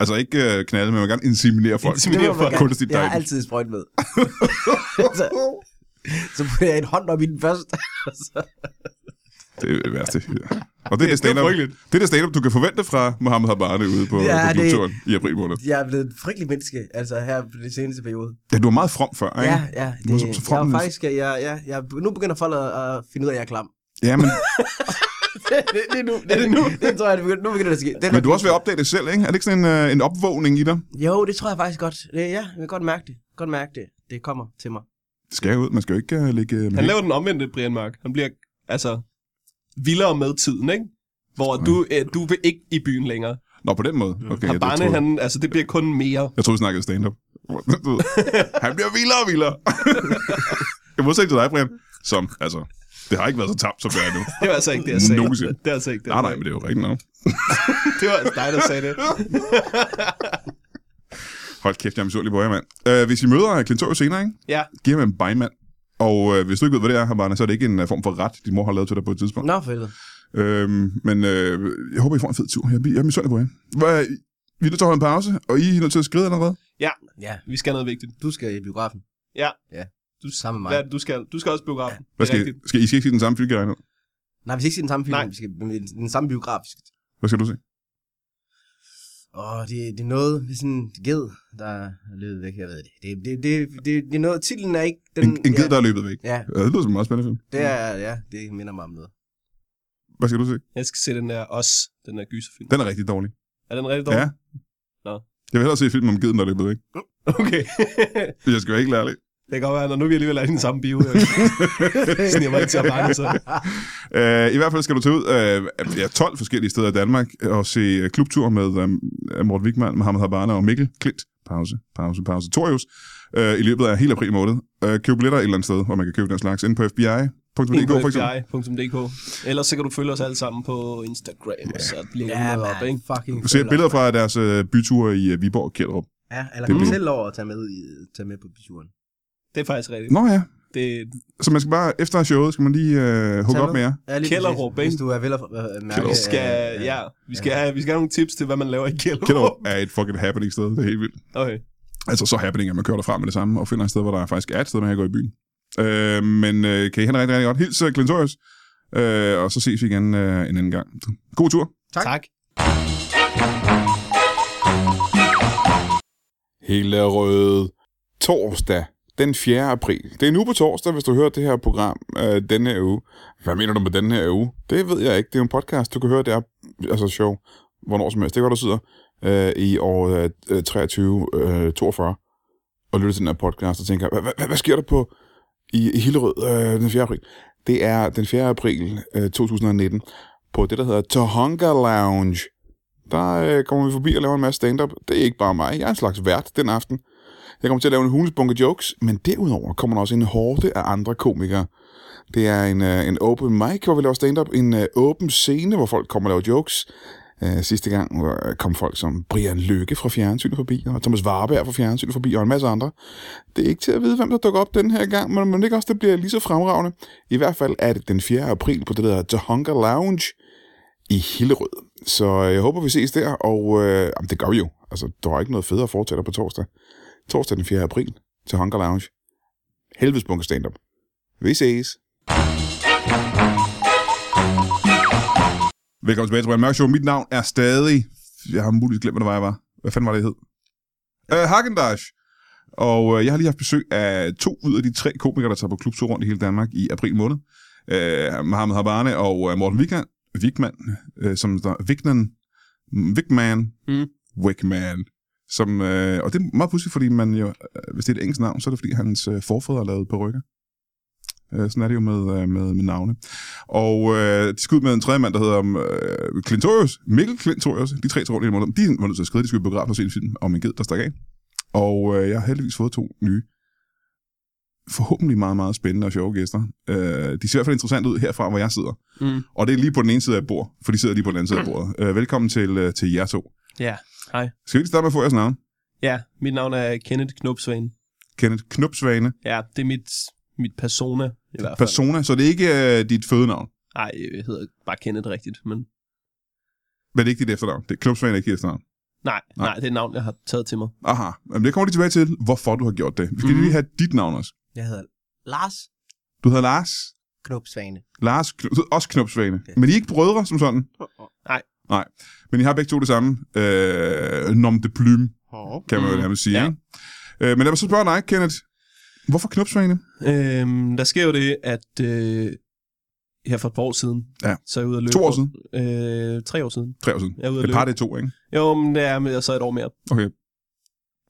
Altså ikke øh, knalde, men man vil gerne inseminere folk.
Inseminere.
må man
folk.
gerne.
Kunstigt
Det har jeg
derinde.
altid sprøjt med. så, så putter jeg en hånd op i den først. og så,
Det er det værste. Ja. Og det er det stand-up,
frygteligt.
det er det stand-up, du kan forvente fra Mohammed Habane ude på, ja,
Ja,
på
det-
klubturen i april måned.
jeg er blevet en frygtelig menneske, altså her på den seneste periode.
Ja, du var meget from før, ikke?
Ja, ja.
Du var så- så
Det, jeg
frem-
er faktisk, jeg, jeg, jeg, jeg, nu begynder folk at, at finde ud af, at jeg er klam.
ja men,
det, det, er nu. Det, er nu. det tror jeg, det begynder, nu begynder det at ske. Det,
men du er også ved at opdage det selv, ikke? Er det ikke sådan en, øh, en opvågning i dig?
Jo, det tror jeg faktisk godt. Det, ja, jeg kan godt mærke det. Godt mærke det. Det kommer til mig.
Det skal jeg ud. Man skal jo ikke uh, ligge... Uh,
Han laver den omvendte, Brian Mark. Han bliver altså vildere med tiden, ikke? Hvor du, øh, du vil ikke i byen længere.
Nå, på den måde. Okay,
Okay,
jeg, jeg,
Habane,
troede,
han, altså det bliver kun mere.
jeg troede, vi snakkede stand-up. Du ved, han bliver vildere og vildere. jeg modsætter til dig, Brian, som, altså, det har ikke været så tabt, som det er nu.
Det var altså ikke det, jeg sagde.
Nogensinde.
Det er altså ikke det.
Nej, nej, men det er jo rigtigt nok.
Det var altså dig, der sagde det.
Hold kæft, jeg er misundelig på jer, mand. Uh, hvis I møder Klintorius senere, ikke?
Ja,
giver man en bejmand. Og øh, hvis du ikke ved, hvad det er, Havana, så er det ikke en øh, form for ret, din mor har lavet til dig på et tidspunkt.
Nå, for helvede.
Øhm, men øh, jeg håber, I får en fed tur. Jeg, bliver- jeg er misundelig på jer. Hvad, vi er nødt til at holde en pause, og I er nødt til at skride allerede.
Ja,
vi skal noget vigtigt.
du skal i biografen.
Ja.
Ja,
Du,
sammen med mig.
Hvad er det, du skal? Du skal også i biografen.
Hvad
Det er
skal, I,
rigtigt.
skal, I skal ikke se den samme film, jeg regner ud.
Nej, vi skal ikke se den samme film,
Nej.
vi skal men den- den samme biograf. Vi skal-
Hvad skal du se?
Åh, det, det er noget, det er sådan en ged, der er løbet væk, jeg ved det. Det, det, det, det, det er noget, titlen er ikke den...
En, en ged,
ja,
der er løbet væk.
Ja,
Ja, det lyder som en meget spændende film.
det er, ja, det minder mig om noget.
Hvad skal du se?
Jeg skal se den der Os, den der gyserfilm.
Den er rigtig dårlig.
Er den rigtig
Ja.
dårlig? Nå.
Jeg vil hellere se filmen om giden, der løbet væk.
Okay.
Jeg skal være helt ærlig.
det kan godt være, når nu er vi alligevel er i den samme bio. øh, Jeg sniger mig ikke til at bange, så.
Uh, I hvert fald skal du tage ud af uh, ja, 12 forskellige steder i Danmark og se øh, klubtur med uh, Morten Wigman, Mohamed Habana og Mikkel Klint. Pause, pause, pause. Torius uh, i løbet af hele april måned. Uh, køb billetter et eller andet sted, hvor man kan købe den slags. Inde på fbi.dk for eksempel.
FBI.dk. Ellers så kan du følge os alle sammen på Instagram, og så lægger
Ja,
vi noget op,
man.
ikke?
Fucking
Du ser billeder fra deres uh, byture i uh, Viborg og Kjellerup.
Ja, eller
Det
det
er
selv over at tage med, i, tage med på bituren.
Det er faktisk rigtigt.
Nå ja,
Det,
så man skal bare, efter showet, skal man lige uh, hugge
Tag
op
med.
med jer.
Ja, lige
Kjellerup,
præcis.
ikke?
Hvis du er vel at øh, mærke...
vi skal, ja, vi skal, have, vi skal have nogle tips til, hvad man laver i Kjellerup.
Kjellerup er et fucking happening sted, det er helt vildt.
Okay.
Altså så happening, at man kører derfra med det samme, og finder et sted, hvor der faktisk er et sted, man kan gå i byen. Øh, men øh, kan I have det rigtig, rigtig godt. Hils øh, Clintorius, øh, og så ses vi igen øh, en anden gang. God tur.
Tak.
tak.
Hele røde torsdag, den 4. april. Det er nu på torsdag, hvis du hører det her program øh, denne her uge. Hvad mener du med denne her uge? Det ved jeg ikke. Det er jo en podcast, du kan høre det er altså show, hvornår som helst. Det er godt, du sidder øh, i år øh, 23, øh, 42 og lytter til den her podcast og tænker, "Hvad- hvad- hvad- hvad sker der på i, i Hillerød øh, den 4. april? Det er den 4. april øh, 2019 på det, der hedder Tohonga Lounge der øh, kommer vi forbi og laver en masse stand-up. Det er ikke bare mig, jeg er en slags vært den aften. Jeg kommer til at lave en hulesbunke jokes, men derudover kommer der også en horde af andre komikere. Det er en, øh, en open mic, hvor vi laver stand-up, en øh, åben scene, hvor folk kommer og laver jokes. Øh, sidste gang øh, kom folk som Brian Lykke fra Fjernsynet forbi, og Thomas Warberg fra Fjernsynet forbi, og en masse andre. Det er ikke til at vide, hvem der dukker op den her gang, men man ikke også, det bliver lige så fremragende. I hvert fald er det den 4. april på det, der hedder Tohonga Lounge i Hillerød. Så øh, jeg håber, vi ses der, og øh, jamen, det gør vi jo. Altså, der er ikke noget federe at foretage dig på torsdag. Torsdag den 4. april til Hunger Lounge. Helvedes bunke stand-up. Vi ses. Velkommen tilbage til Brian Mørk Show. Mit navn er stadig... Jeg har muligvis glemt, hvad det var, jeg var. Hvad fanden var det, jeg hed? Øh, Hagendash. Og øh, jeg har lige haft besøg af to ud af de tre komikere, der tager på klubtur rundt i hele Danmark i april måned. Øh, Mohamed Habane og øh, Morten Wigman, Wigman øh, som der, Wigman, Wigman,
Mm.
Wigman, som, øh, og det er meget pudsigt, fordi man jo, øh, hvis det er et engelsk navn, så er det fordi hans øh, forfædre har lavet perukker. Øh, sådan er det jo med, øh, med, med navne. Og øh, de skal ud med en tredje mand, der hedder øh, Clintorius, Mikkel Clintorius, de tre tror, de var nødt til at skrive, de skulle i biografen og se en film om en ged, der stak af. Og øh, jeg har heldigvis fået to nye forhåbentlig meget, meget spændende og sjove gæster. Øh, de ser i hvert fald interessant ud herfra, hvor jeg sidder.
Mm.
Og det er lige på den ene side af bordet, for de sidder lige på den anden side af bordet. Øh, velkommen til, øh, til jer to.
Ja, hej.
Skal vi lige starte med at få jeres navn?
Ja, mit navn er Kenneth Knopsvane.
Kenneth Knupsvane.
Ja, det er mit, mit persona i hvert fald.
Persona, så det er ikke øh, dit fødenavn,
Nej, jeg hedder bare Kenneth rigtigt, men
men det er ikke dit efternavn. Det, Knupsvane er ikke dit efternavn.
nej, nej, nej, det er et navn, jeg har taget til mig.
Aha, Jamen, det kommer de tilbage til, hvorfor du har gjort det. Vi skal mm.
Mhm.
lige have dit navn også.
Jeg hedder Lars
Du hedder Lars.
Knopsvane.
Lars, Knu- du hedder også Knupsvane.
Ja.
Men I er ikke brødre som sådan.
Nej.
Nej, men I har begge to det samme. Øh, nom de plume. kan man jo
Mhm.
nærmest sige. Ja.
Ja.
Ikke? Øh, men lad mig så spørge dig, Kenneth. Hvorfor knopsvane?
Øhm, der sker jo det, at øh, her for et par år siden,
Ja.
så er jeg ude at løbe.
To år siden?
Øh, tre år siden.
Tre år siden.
Jeg er ude at
Et par,
løbe.
det er to, ikke?
Jo, men det er med, så et år mere.
Okay.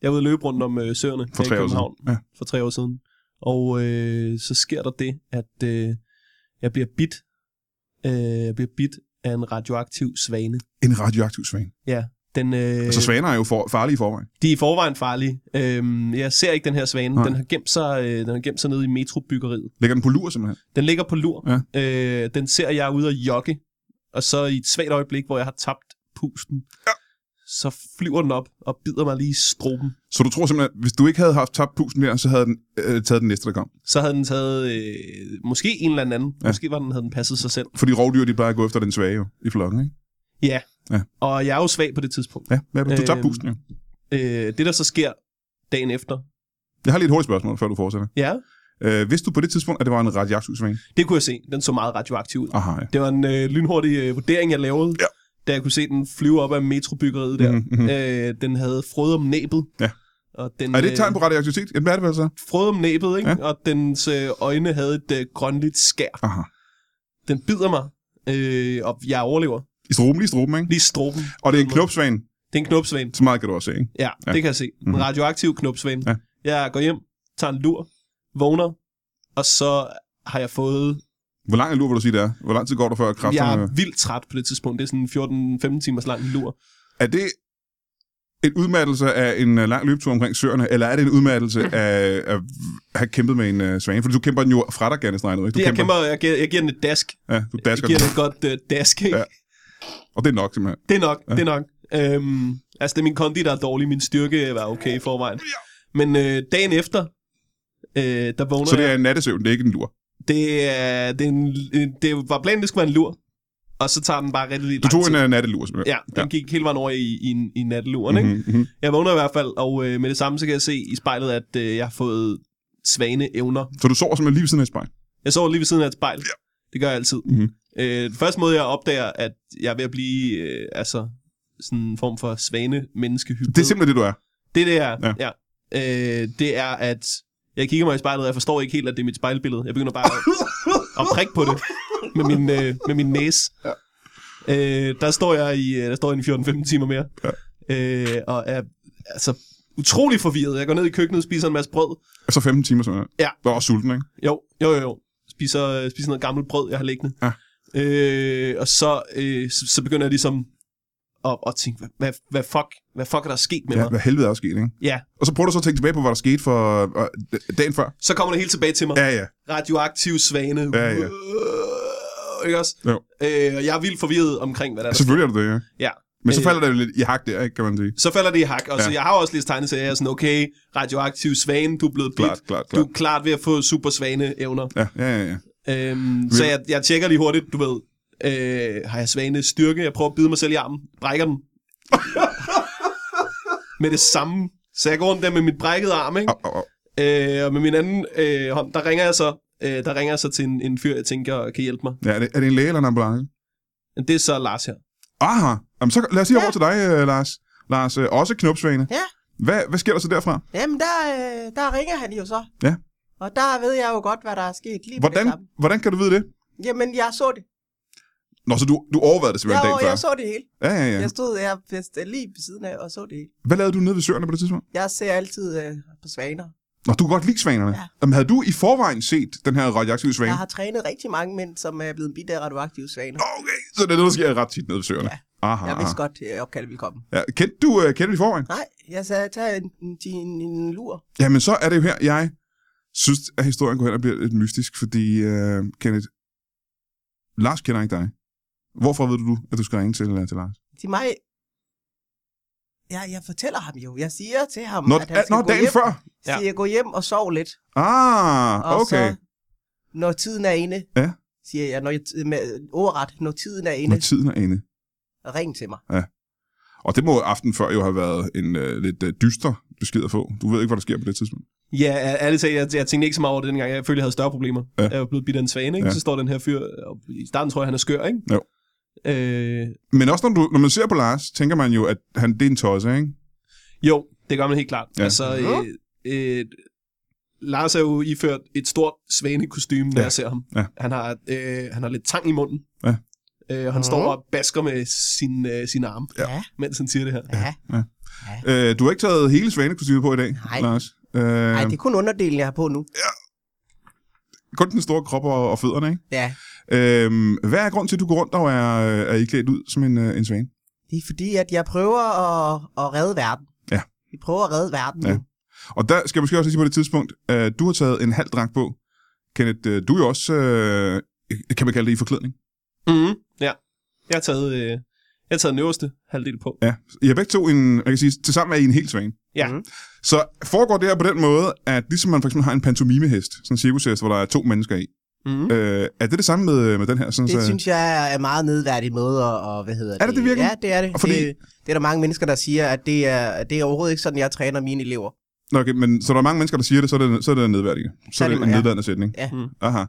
Jeg er ude at løbe rundt om øh, søerne
For
her i
tre år siden.
København
Ja.
for tre år siden. Og øh, så sker der det, at øh, jeg bliver bit. Øh, jeg bliver bit af en radioaktiv svane.
En radioaktiv svane.
Den, øh,
Øh. Altså, svaner er jo for, farlige i forvejen.
De er i forvejen farlige. Øhm, jeg ser ikke den her svane.
Nej.
Den har, gemt sig, øh, den har gemt sig nede i metrobyggeriet.
Lægger den på lur, simpelthen.
Den ligger på lur. Ja. Øh, den ser jeg ude at jogge. Og så i et svagt øjeblik, hvor jeg har tabt pusten,
Ja.
så flyver den op og bider mig lige i stroben.
Så du tror simpelthen, at hvis du ikke havde haft tabt pusten der, så havde den øh, taget den næste, der kom.
Så havde den taget øh, måske en eller anden.
Ja.
Ja. Måske var den, havde den passet sig selv.
Fordi rovdyr, de plejer at gå efter den svage jo, i flokken, ikke?
Ja.
Ja.
Og jeg er jo svag på det tidspunkt.
Ja, hvad er det? Du tabte
Øhm.
pusten jo.
Øh, det, der så sker dagen efter.
Jeg har lige et hurtigt spørgsmål, før du fortsætter.
Ja,
Øh, vidste du på det tidspunkt, at det var en radioaktiv svane?
det kunne jeg se. Den så meget radioaktiv ud.
Aha, ja.
Det var en øh, lynhurtig øh, vurdering, jeg lavede,
Ja.
da jeg kunne se den flyve op af metrobyggeriet der.
Mhm, mhm.
Øh, den havde frød om næbet.
Ja.
Og den,
Er det et tegn på radioaktivitet? Jamen, hvad er det vel så?
frød om næbet, ikke?
Ja.
Ja. og dens øh, øjne havde et øh, grønligt skær.
Aha.
Den bider mig, øh, og jeg overlever.
I struben, lige i struben, ikke?
Lige stroben.
Og det er en knopsvan,
Det er en knopsvane.
så meget kan du også se, ikke?
Ja,
Ja.
ja, det kan jeg se. En
Mhm.
radioaktiv knopsvane.
Ja.
Ja. Jeg går hjem, tager en lur, vågner, og så har jeg fået...
Hvor lang en lur vil du sige, det er? Hvor lang tid går der før
jeg
kræfterne...
er vildt træt på det tidspunkt. Det er sådan en 14-15 timers lang lur.
Er det en udmattelse af en øh, lang løbetur omkring søerne, eller er det en udmattelse
Mm-hmm.
af af at have kæmpet med en uh, svane? Fordi du kæmper den jo fra dig, gerne snart, ikke? Du
Det, jeg, kæmper, jeg, giver, jeg giver den et dask.
Ja, du
Jeg
dasker
giver
den.
den et godt øh, dask, ikke?
Ja.
Ja.
Og det er nok, simpelthen.
Det er nok, ja. det er nok. Øhm, altså, det er min kondi, der er dårlig. Min styrke var okay i forvejen. Men øh, dagen efter, øh, der vågner
Så det
jeg.
er en nattesøvn, det er ikke en lur.
Det, er, det, er en, en- det var planen, det skulle være en lur. Og så tager den bare rigtig lang
Du tog
tid.
en uh, nattelur, simpelthen.
Ja, den gik hele vejen over i, i, en- i natteluren, ikke?
Mm-hmm, mm-hmm.
Jeg vågner i hvert fald, og øh, med det samme, så kan jeg se i spejlet, at øh, jeg har fået svane evner.
Så du sover simpelthen lige ved siden af et spejl.
Jeg sover lige ved siden af et spejl. Ja. Det gør jeg altid.
Mhm.
Øh, den første måde, jeg opdager, at jeg er ved at blive øh, altså, sådan en form for svane menneske
Det er simpelthen det, du er.
det, det er,
Ja.
ja. ja. Øh, det er, at jeg kigger mig i spejlet, og jeg forstår ikke helt, at det er mit spejlbillede. Jeg begynder bare at, at prikke på det med min, øh, med min næse. Ja. Øh, der står jeg i øh, der står jeg i en 14-15 timer mere.
Ja.
Øh, og er altså utrolig forvirret. Jeg går ned i køkkenet, spiser en masse brød.
Og så 15 Altså timer, simpelthen.
Ja.
Du er også sulten, ikke?
Jo, jo, jo. jo. Spiser, øh, spiser noget gammelt brød, jeg har liggende.
Ja.
Øh, og så, øh, så, så begynder jeg ligesom at, at tænke, hvad, hvad, hvad, fuck, hvad fuck er der sket med
Ja,
mig?
hvad helvede er der sket, ikke?
Ja,
Og så prøver du så at tænke tilbage på, hvad der skete for øh, dagen før.
så kommer det hele tilbage til mig.
Ja, ja.
radioaktiv svane.
Ja, ja.
Øh, ikke også?
Jo. Altså,
Øh, og jeg er vildt forvirret omkring, hvad der er. der-
Selvfølgelig er du det, ja.
Ja.
Men så
Øh.
falder det jo lidt i hak der, ikke, kan man sige.
Så falder det i hak. Og
Ja.
så jeg har også læst tegneserier, jeg er sådan, okay, radioaktiv svane, du er blevet
Klart,
bidt.
klart,
Du
klart.
er klart ved at få super svane evner.
Ja, ja, ja, ja.
Øhm, så jeg, jeg tjekker lige hurtigt, du ved, øh, har jeg svane styrke? Jeg prøver at bide mig selv i armen, brækker den. med det samme. Så jeg går rundt der med mit brækkede arm, ikke?
Au, au, au.
Øh, og med min anden øh, hånd, der ringer jeg så, øh, der ringer jeg så til en, en fyr, jeg tænker kan hjælpe mig.
Ja, er, det, er det en læge eller en ambulance?
Men Det er så Lars her.
Aha. Jamen, så lad os lige over til dig, øh, Lars. Lars, øh, også knopsvane.
Ja.
Hvad, hvad sker der så derfra?
Jamen, der, øh, der ringer han jo så.
Ja.
Og der ved jeg jo godt, hvad der er sket lige
Hvordan,
med det samme.
hvordan kan du vide det?
Jamen, jeg så det.
Nå, så du, du overvejede det
Jeg,
simpelthen dagen
jeg,
før.
jeg så det hele.
Ja, ja,
Ja.
ja.
Jeg stod jeg, jeg stod lige ved siden af og så det hele.
Hvad lavede du nede ved søerne på det tidspunkt?
Jeg ser altid øh, på svaner.
Nå, du kan godt lide svanerne.
Ja.
Jamen, havde du i forvejen set den her radioaktive svane?
Jeg har trænet rigtig mange mænd, som er blevet bidt af radioaktive svaner.
Okay, så det er noget, der sker ret tit nede ved søerne.
Ja.
Aha.
Jeg vidste
aha.
godt, at opkaldet ville komme.
Ja, kendte du øh, kendte det i forvejen?
Nej, jeg sagde, tag en, en, en, en lur.
Jamen, så er det jo her, jeg synes, at historien går hen og bliver lidt mystisk, fordi, øh, Kenneth, Lars kender ikke dig. Hvorfor ved du, at du skal ringe til, øh, til Lars?
Til mig. Ja, jeg fortæller ham jo. Jeg siger til ham,
Nå,
at han skal
nå
gå
dagen
hjem.
før?
Ja. Siger, gå hjem og sov lidt.
Ah,
Og
okay.
så, når tiden er inde,
Ja.
siger jeg, når jeg, t- med ordret, når tiden er
Når
inde,
tiden er inde.
ring til mig.
Og det må aften før jo have været en øh, lidt øh, dyster besked at få. Du ved ikke, hvad der sker på det tidspunkt.
Ja, ærligt talt, jeg, jeg tænkte ikke så meget over det dengang. Jeg følte, jeg havde større problemer.
Ja.
Ja. Jeg var blevet bidt af en svane, ikke?
Ja.
Ja. Så står den her fyr, og i starten tror jeg, han er skør, ikke?
Jo.
Øh,
Men også når, du, når man ser på Lars, tænker man jo, at han, det er en tosse, ikke?
jo, det gør man helt klart.
Ja.
Ja. Altså, øh, øh, Lars er jo iført et stort svanekostyme, når
Ja.
jeg ser ham.
Ja.
Han, har, øh, han har lidt tang i munden.
Ja.
Øh, og han står og basker med sin, øh, sin arm,
Ja.
mens han siger det her.
Ja.
Øh, du har ikke taget hele svanekostymet på i dag,
Nej.
Lars. Øh,
Nej, det er kun underdelen, jeg har på nu.
Kun den store krop og, og fødderne, ikke?
Ja.
Øh, hvad er grunden til, at du går rundt og er, øh, er I klædt ud som en, øh, en svane?
Det er fordi, at jeg prøver at, at redde verden.
Ja.
Vi prøver at redde verden
Ja.
ja. nu.
Og der skal jeg måske også lige sige på det tidspunkt, øh, du har taget en halv dragt på. Kenneth, øh, du er jo også, øh, kan man kalde det i forklædning?
Mm-hmm. Ja. Jeg har taget, øh, jeg har taget den øverste halvdel på.
Ja, I har begge to en, jeg kan sige, tilsammen er I en helt svane.
Ja.
Mhm.
Så foregår det her på den måde, at ligesom man for eksempel har en pantomimehest, sådan en cirkushest, hvor der er to mennesker i,
Mm-hmm.
øh, er det det samme med, med den her? Sådan,
Mhm. Det
så,
synes jeg er en meget nedværdig måde at, og hvad hedder det?
Er det det virkelig?
Ja, det er det.
Og fordi-
det. Det er der mange mennesker, der siger, at det er, det er overhovedet ikke sådan, jeg træner mine elever.
Nå, okay, men, så der er mange mennesker, der siger det, så er det, så er det nedværdigende. Så er det en
ja.
nedværdigende sætning. Mhm.
Ja.
Mm.
Aha.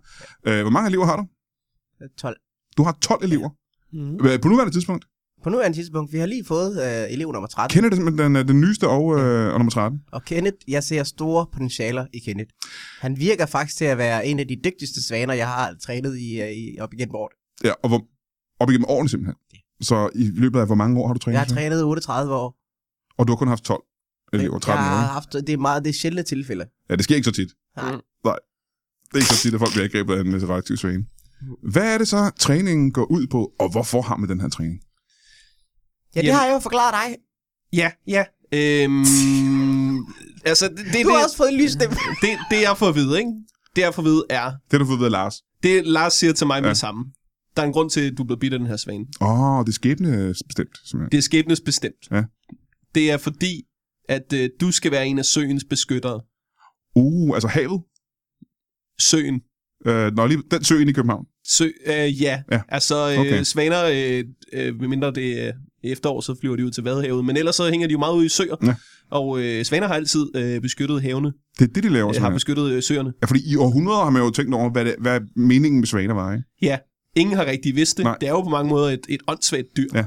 Øh, hvor mange elever har du?
12.
Du har 12 elever.
Mm-hmm.
Øh, På nuværende tidspunkt.
På nuværende tidspunkt, vi har lige fået øh, elev nummer 13.
Kender det simpelthen den, øh, den nyeste og, øh, og nummer 13?
Og Kenneth, jeg ser store potentialer i Kenneth. Han virker faktisk til at være en af de dygtigste svaner, jeg har trænet i, øh, i op igennem året.
Ja, og hvor, Op igennem årene simpelthen. Så i løbet af hvor mange år har du trænet?
Jeg har
så?
trænet i 38 år.
Og du har kun haft 12 elever, 13
jeg
år.
har
ikke?
haft, det er meget, det er sjældne tilfælde.
Ja, det sker ikke så tit.
Nej.
Nej. Det er ikke så tit, at folk bliver angrebet af en øh, radioaktiv svane.
Mm.
Hvad er det så, træningen går ud på, og hvorfor har man den her træning?
Ja, det
Jamen.
har jeg jo forklaret dig.
Ja, ja. Øhm, altså, det, det,
Du har
det,
også fået en lysstemme.
det, det, jeg får at vide, ikke? Det, jeg får at vide, er...
Det har du fået ved af Lars.
Det, Lars siger til mig
Ja.
med det samme. Der er en grund til, at du blev bidt af den her svane.
Åh, oh, det er skæbnebestemt, simpelthen.
Det er skæbnesbestemt.
Ja.
Det er fordi, at øh, du skal være en af søens beskyttere.
Uh, altså havet.
Søen.
Øh, nå, lige den sø inde i København.
Sø, øh, ja.
Ja,
altså øh,
okay.
svaner, øh, øh, medmindre det er efterår, så flyver de ud til Vadehavet, men ellers så hænger de jo meget ude i søer,
Ja.
og øh, svaner har altid øh, beskyttet havene,
Det er det, de laver,
øh, har
simpelthen.
beskyttet øh, søerne.
Ja, fordi i århundreder har man jo tænkt over, hvad, det, hvad meningen med svaner var, ikke?
Ja, ingen har rigtig vidst det.
Nej.
Det er jo på mange måder et, et åndssvagt dyr,
Ja.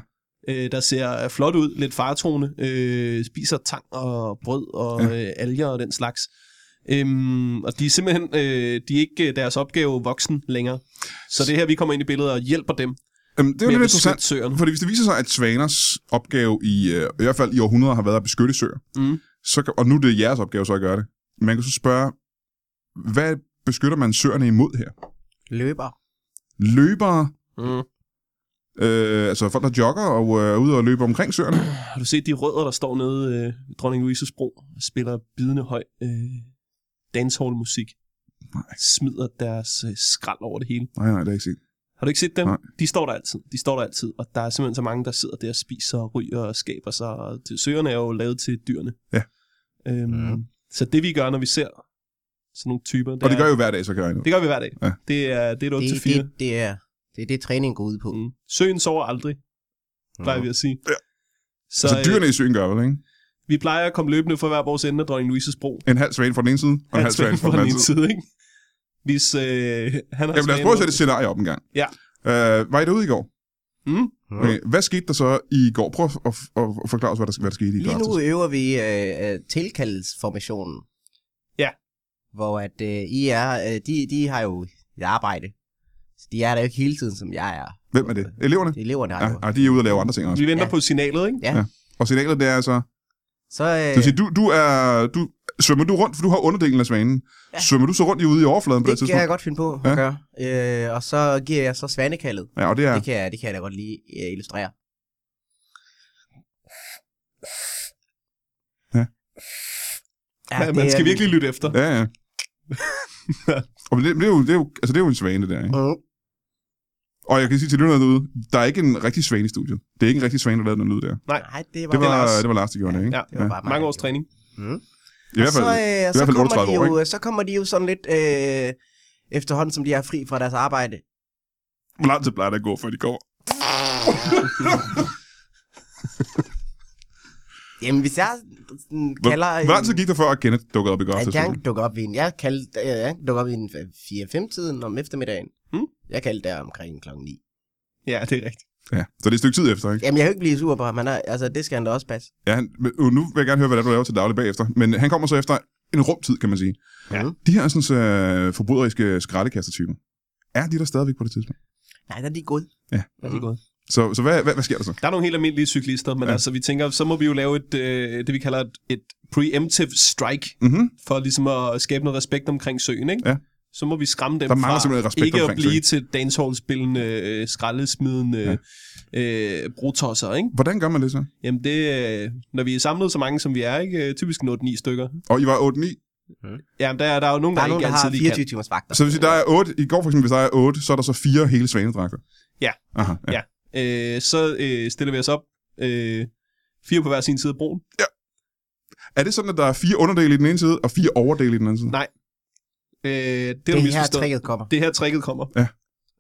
øh, der ser flot ud, lidt faretroende, øh, spiser tang og brød og ja. øh, alger og den slags. Øhm, og de er simpelthen øh, de er ikke øh, deres opgave voksen længere. Så det er her, vi kommer ind i billedet og hjælper dem
Jamen, Øhm, det er jo
med at
lidt
beskytte
interessant,
søerne.
fordi hvis det viser sig, at svaners opgave i, øh, i hvert fald i århundreder har været at beskytte søer,
Mm.
så, kan- og nu er det jeres opgave så at gøre det, man kan så spørge, hvad beskytter man søerne imod her?
Løber.
Løbere,
Mm.
øh, altså folk, der jogger og øh, er ude og løber omkring søerne.
Har du set de rødder, der står nede øh, ved Dronning Louise's Bro og spiller bidende høj øh, dancehall-musik?
Nej.
Smider deres øh, skrald over det hele.
Nej, nej, det er ikke set.
Har du ikke set dem?
Nej.
De står der altid. De står der altid. Og der er simpelthen så mange, der sidder der og spiser og ryger og skaber sig. Og det- søerne er jo lavet til dyrene.
Ja.
Øhm,
Ja.
Så det vi gør, når vi ser sådan nogle typer, det,
Og det
er,
gør jeg jo hver dag, så gør jeg nu.
det gør vi hver dag.
Ja.
Det er det er et 8
Det,
til 4.
det, det, er, det er det, træningen går ud på.
Mm. Søen sover aldrig,
Mm.
plejer vi at sige.
Ja.
Så,
Så, så
øh,
Altså, dyrene i søen gør vel, ikke?
vi plejer at komme løbende for hver vores ende af Dronning Louise's Bro.
En halv svane fra den ene side, og en halv svane fra den anden side.
side, ikke? Hvis øh, han har
Jamen lad os
svanen
prøve at sætte
over-
et scenarie op en gang.
Ja.
Øh, var I derude i går?
Mm?
Okay. Hvad skete der så i går? Prøv at, at, at forklare os, hvad der, hvad der skete i går.
Lige nu
aftes.
øver vi øh, øh, tilkaldelsformationen.
Ja.
Hvor at øh, I er, øh, de, de har jo et arbejde. Så de er der jo ikke hele tiden, som jeg er.
Hvem er det? Eleverne?
Eleverne har
Ja,
jo.
ja, de er ude og lave andre ting også.
Vi venter
Ja.
på signalet, ikke?
Og signalet det er altså...
Så,
Det
øh,
vil sige, du, du er... Du, svømmer du rundt, for du har underdelen af svanen. Ja.
Ja.
Svømmer du så rundt i ude i overfladen på det,
det kan
tidspunkt?
jeg godt finde på
Ja.
at gøre. Øh, og så giver jeg så svanekaldet.
Ja, og det er...
Ja. Det, kan jeg, det kan jeg da godt lige øh, illustrere.
Ja.
Ja,
det
man
er-
skal virkelig lytte efter.
Ja, ja. og det, det, er jo, det, er jo, altså, det er jo en svane, det der, ikke?
Mm.
Og jeg kan sige til lytterne derude, der er ikke en rigtig svane i studiet. Det er ikke en rigtig svane, der lavede den lyd der.
Nej, det var,
Det var,
Lars.
det var Lars, der gjorde det, ikke?
Ja.
det var bare mig,
Mange
der
års
gjorde.
træning.
Mm.
I hvert fald,
så, øh,
hvert
så,
fald
kommer de
38 år,
jo, så kommer de jo sådan lidt øh, efterhånden, som de er fri fra deres arbejde.
hvor lang tid plejer det at gå, før de går?
Jamen, hvis jeg sådan,
Hvor,
kalder...
hvor lang tid gik der før, at Kenneth dukkede op i går
jeg,
aftes?
jeg dukker op i en... Jeg, kaldte, jeg, jeg dukker op i en 4-5-tiden om eftermiddagen.
Mm.
Jeg kaldte der omkring klokken 9.
Ja, det er rigtigt.
Ja, så det er et stykke tid efter, ikke?
øh, Jamen, jeg kan jo ikke blive sur på ham. Han er, altså, det skal han da også passe.
Ja, han, men, øh, nu vil jeg gerne høre, hvad det er, du laver til daglig bagefter. Men han kommer så efter en rum tid, kan man sige.
Ja.
De her sådan, så, øh, forbryderiske skraldekastertyper, er de der stadigvæk på det tidspunkt?
Nej, der er de gode.
Ja, det er gået.
Så, så hvad, hvad, hvad sker der så?
Der er nogle helt almindelige cyklister, men
Ja.
ja. altså, vi tænker, så må vi jo lave et, øh, det, vi kalder et, et preemptive strike,
Mm-hmm.
for ligesom at skabe noget respekt omkring søen, ikke?
Ja.
Så må vi skræmme dem
Der mangler
fra
simpelthen respekt
ikke at
omkring
blive til dancehall-spillende, øh, skraldesmidende, ja. øh, brutosser, ikke?
Hvordan gør man det så?
Jamen det, øh, når vi er samlet så mange, som vi er, ikke? Øh, Typisk 8-9 stykker.
Og I var 8-9.
Jamen der, er- der er jo nogen,
Der
der,
er nogen,
ikke
der har
altid lige
24
kan.
timers vagter.
Så hvis I der er 8, i går for eksempel, hvis der er 8, så er der så fire hele svanedragter.
Ja.
Aha, ja.
Ja. Øh, så øh, stiller vi os op øh, fire på hver sin side af broen.
Er det sådan, at der er fire underdele i den ene side, og fire overdele i den anden side?
Nej. Øh, det er det
det
du
er her,
misforstået.
tricket kommer.
Det er her tricket kommer.
Ja.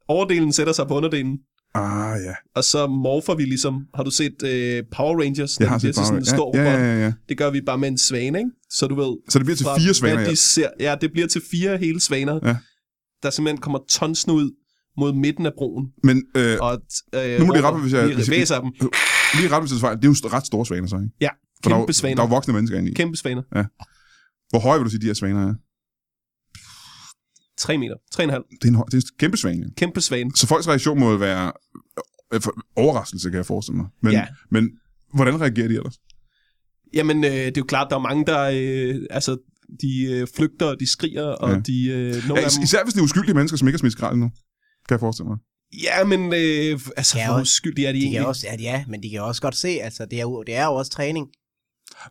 Overdelen sætter sig på underdelen,
Ah, ja.
og så morfer vi ligesom... Har du set øh, Power Rangers?
Jeg har set
det sådan
Power
en
Rangers.
stor
ja, ja,
robot.
ja, ja.
Det gør vi bare med en svane, ikke? Så du ved...
Så det bliver til
fra
fire svaner,
hvad
ja.
de ser, ja, det bliver til fire hele svaner.
Ja.
Der simpelthen kommer tonsene ud mod midten af broen.
Men øh,
Og, øh,
Nu må de
råber,
rette mig, hvis jeg-
vi
hvis jeg-
væser dem.
lige ret ved fejl, det er jo ret store svaner, så, ikke?
Ja,
For der er
kæmpe
jo-
svaner.
Der er jo voksne mennesker inde i.
Kæmpe svaner.
Hvor høje vil du sige, de her svaner er?
3 meter. 3,5.
Det er en, høj, det er en kæmpe svane.
Kæmpe svane.
Så folks reaktion må jo være Øh, For, overraskelse, kan jeg forestille mig. Men,
Ja.
men hvordan reagerer de ellers?
Jamen, øh, det er jo klart, der er mange, der... Øh, altså, de øh, flygter, og de skriger, og
Ja.
ja. de... Øh, nogle
Ja,
ja, af
is-
dem,
især hvis det er uskyldige mennesker, som ikke har smidt skrald nu. Kan jeg forestille mig.
ja, men øh, altså,
Ja,
hvor
og-
uskyldige er de
De kan
egentlig?
også, ja, ja, men de kan også godt se, altså, det er jo, det er jo også træning.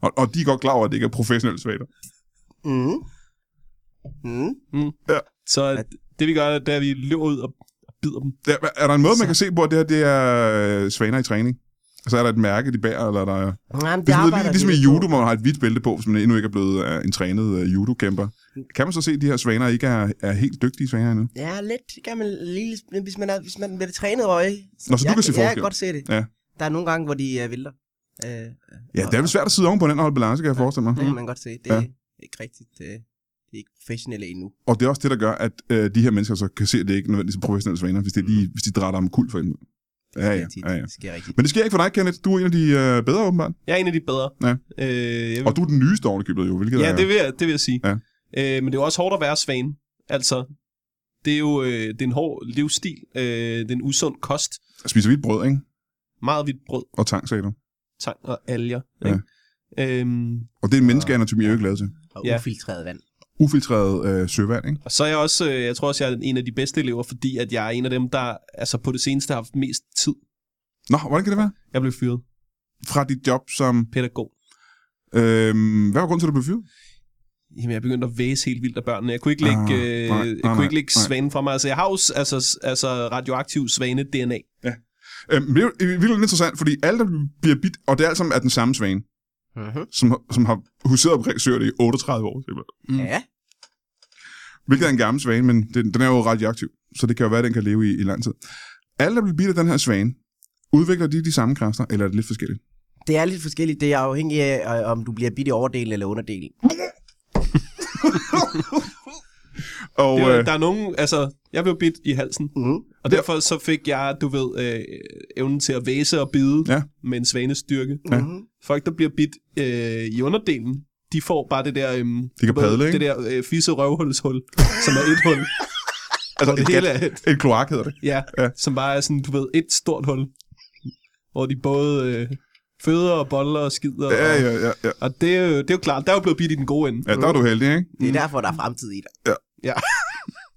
Og, og de er godt klar over, at det ikke er professionelle svater.
Mm. Mm.
Så det vi gør, det er, at vi løber ud og og bider dem.
Der, er der en måde, man kan se på, at det her det er øh, svaner i træning? Altså er der et mærke, de bærer, eller er der...
Jamen, det
Det er sådan
arbejder
noget, ligesom
de
i
på.
judo, hvor man har et hvidt bælte på, hvis man endnu ikke er blevet øh, en trænet øh, judo-kæmper. Kan man så se, at de her svaner ikke er, er helt dygtige svaner endnu?
Ja, lidt. Det kan man lige, men hvis man, er, hvis man med det trænede øje.
Nå, så du
jeg,
kan se
Jeg
forskel.
kan godt se det.
Ja.
Der er nogle gange, hvor de uh, vælter. Uh,
Ja, det er vel svært at sidde ovenpå den og holde balance, kan jeg forestille mig.
Det kan man godt se. Det
Ja.
er ikke rigtigt. Uh, det er ikke professionelle endnu.
Og det er også det, der gør, at øh, de her mennesker så kan se, at det ikke nødvendigvis er professionelle svaner, hvis de, lige, hvis de drætter om kul for en.
Det
Ja,
sker
ja,
tit.
ja, ja.
Det sker rigtigt.
Men det sker ikke for dig, Kenneth. Du er en af de øh, bedre, åbenbart.
Jeg er en af de bedre.
Ja.
Øh, jeg vil,
Og du er den nyeste ovenikøbet, jo, hvilket
ja,
er...
det vil, jeg, det vil jeg sige.
Ja.
Øh, men det er jo også hårdt at være svane. Altså, det er jo øh, det er en hård livsstil. Øh, det er en usund kost.
Spiser vidt brød, ikke?
Meget hvidt brød,
Og tang, sagde du.
tang og alger.
Ja.
Ikke? Øhm,
Og det er en menneskeanatomi, jeg er jo ikke lavet til.
Og
Ja.
ufiltreret vand.
Ufiltreret øh, søvand, ikke?
Og så er jeg også, øh, jeg tror også, jeg er en af de bedste elever, fordi at jeg er en af dem, der altså på det seneste har haft mest tid.
Nå, hvordan kan det være?
Jeg blev fyret.
Fra dit job som...
Pædagog.
Øh, hvad var grunden til, at du blev fyret?
Jamen, jeg begyndte at væse helt vildt af børnene. Jeg kunne ikke lægge,
Ah, nej,
øh, jeg
nej,
kunne ikke
nej,
lægge
nej.
svanen fra mig. Altså, jeg har jo s- altså, s- altså radioaktiv svane-DNA.
Øh, men det er jo virkelig interessant, fordi alle, der bliver bidt, og det er alt sammen er den samme svane,
Mm-hmm.
som, har- som har huseret omkring søerne i 38 år. simpelthen.
Mm.
Ja.
Hvilket er en gammel svane, men den, den er jo radioaktiv, så det kan jo være, at den kan leve i, i lang tid. Alle, der bliver bidt af den her svane, udvikler de de samme kræfter, eller er det lidt forskelligt?
Det er lidt forskelligt. Det er afhængigt af, øh, om du bliver bidt i overdel eller underdel.
Og
Det var,
øh,
der er nogen, altså, jeg blev bidt i halsen.
Mm.
Og derfor så fik jeg, du ved, øh, evnen til at væse og bide
Ja.
ja. med en svanestyrke.
Ja.
Mm-hmm.
Folk, der bliver bidt øh, i underdelen, de får bare det der... Øh,
de kan padle,
det
ikke?
der øh, fisse røvhulshul, som er et hul.
altså,
Det
et,
hele
hele...
er
et kloak hedder det.
Ja,
Ja.
ja, som bare er sådan, du ved, et stort hul, hvor de både øh, føder og boller og skider.
Ja,
og,
ja, ja. ja.
og det, er jo- det er jo klart, der er jo blevet bidt i den gode ende.
ja der er du heldig, ikke?
Det er derfor, der er fremtid i dig.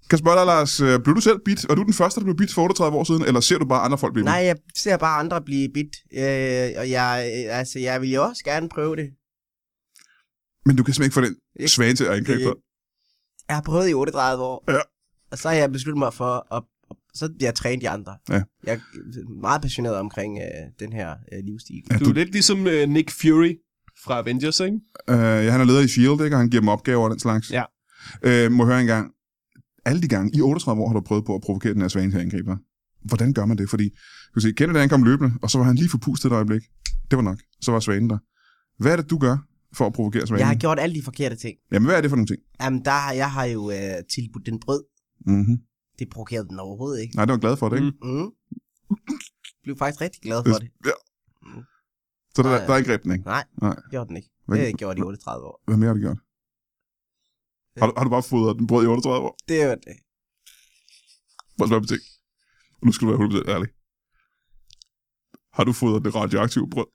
Kasper og Lars, øh, blev du selv bidt? Var du den første, der blev bidt for 38 år siden, eller ser du bare andre folk blive bidt?
Nej, jeg ser bare andre blive bidt. Øh, og jeg, øh, altså, jeg vil jo også gerne prøve det.
Men du kan simpelthen ikke få den
Jeg-
svane til at angribe
det-
dig.
Jeg har prøvet i 38 år.
Ja.
Og så har jeg besluttet mig for at... at- Så bliver jeg trænet de andre.
Ja.
Jeg er meget passioneret omkring øh, den her øh, livsstil.
Ja,
Du
du-
er lidt ligesom øh, Nick Fury fra Avengers, ikke?
Øh, han er leder i S.H.I.E.L.D., ikke? og han giver dem opgaver og den slags.
Ja.
Øh, må jeg høre en gang. Alle de gange, i 38 år har du prøvet på at provokere den her svane til at angribe dig. Hvordan gør man det? Fordi, du kan se, Kenneth han kom løbende, og så var han lige forpustet et øjeblik. Det var nok. Så var svanen der. Hvad er det, du gør for at provokere svanen?
Jeg har gjort alle de forkerte ting.
Jamen, hvad er det for nogle ting?
Jamen, der, har- jeg har jo øh, tilbudt den brød.
Mm-hmm.
Det provokerede den overhovedet ikke.
Nej, det var glad for det, ikke? Mm.
Mm.
Mm. Blev faktisk rigtig glad for det.
Så der, der,
Nej.
der er ikke greb den, ikke?
Nej,
Nej.
det gjorde den ikke.
Hvad-
Det gjorde de i 38 år.
Hvad mere har du gjort? Har du, har du bare fodret den brød i 38 år?
Det var det.
Bare spørge ting. Og nu skal du være 100% ærlig. Har du fodret det radioaktive brød?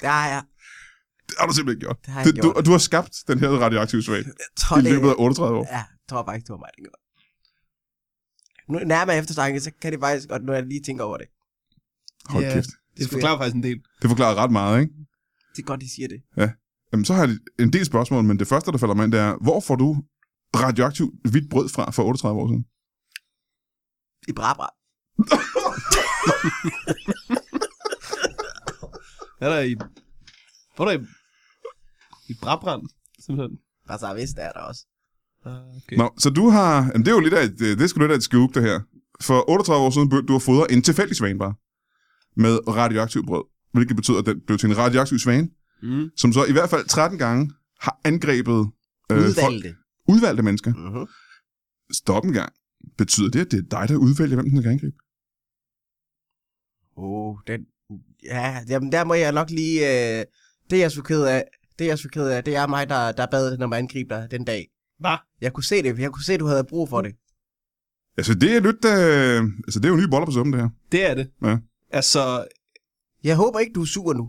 Det har jeg.
Det har du simpelthen ikke gjort.
Det har jeg
Du,
gjort.
du, og du har skabt den her radioaktive svag
Jeg tror,
i
det,
løbet af 38 år.
ja, jeg tror faktisk, det var mig, der gjorde det. Nu nærmere eftertanke, så kan det faktisk godt, når jeg lige tænker over det.
Hold
Ja.
kæft.
Det forklarer faktisk en del.
Det forklarer ret meget, ikke?
Det er godt, de siger det.
Jamen, så har jeg en del spørgsmål, men det første, der falder mig ind, det er, hvor får du radioaktivt hvidt brød fra for 38 år siden?
I Brabra.
Er der i... Hvor er der i... I brabrand, simpelthen.
Bare så Altså, vist er der også.
Ah, Okay.
Nå, så du har... Jamen, det er jo lidt af et, det skal du lidt af et skub, det her. For 38 år siden begyndte du at fodre en tilfældig svane bare med radioaktiv brød, hvilket betyder, at den blev til en radioaktiv svane,
Mm.
som så i hvert fald 13 gange har angrebet øh, folk,
Udvalgte.
udvalgte mennesker.
Mm-hmm.
Stop en gang. Betyder det, at det er dig, der udvælger, hvem den skal angribe?
Oh, den... Ja, jamen der må jeg nok lige... Øh, det er jeg så ked af. Det er jeg så ked af. Det er mig, der, der bad, når man angriber dig den dag.
Hvad? Mm.
Jeg kunne se det. Jeg kunne se, du havde brug for det.
Altså, det er lidt... Øh, altså, det er jo nye boller på summen, det her.
Det er det.
Ja.
Altså,
Jeg håber ikke, du er sur nu.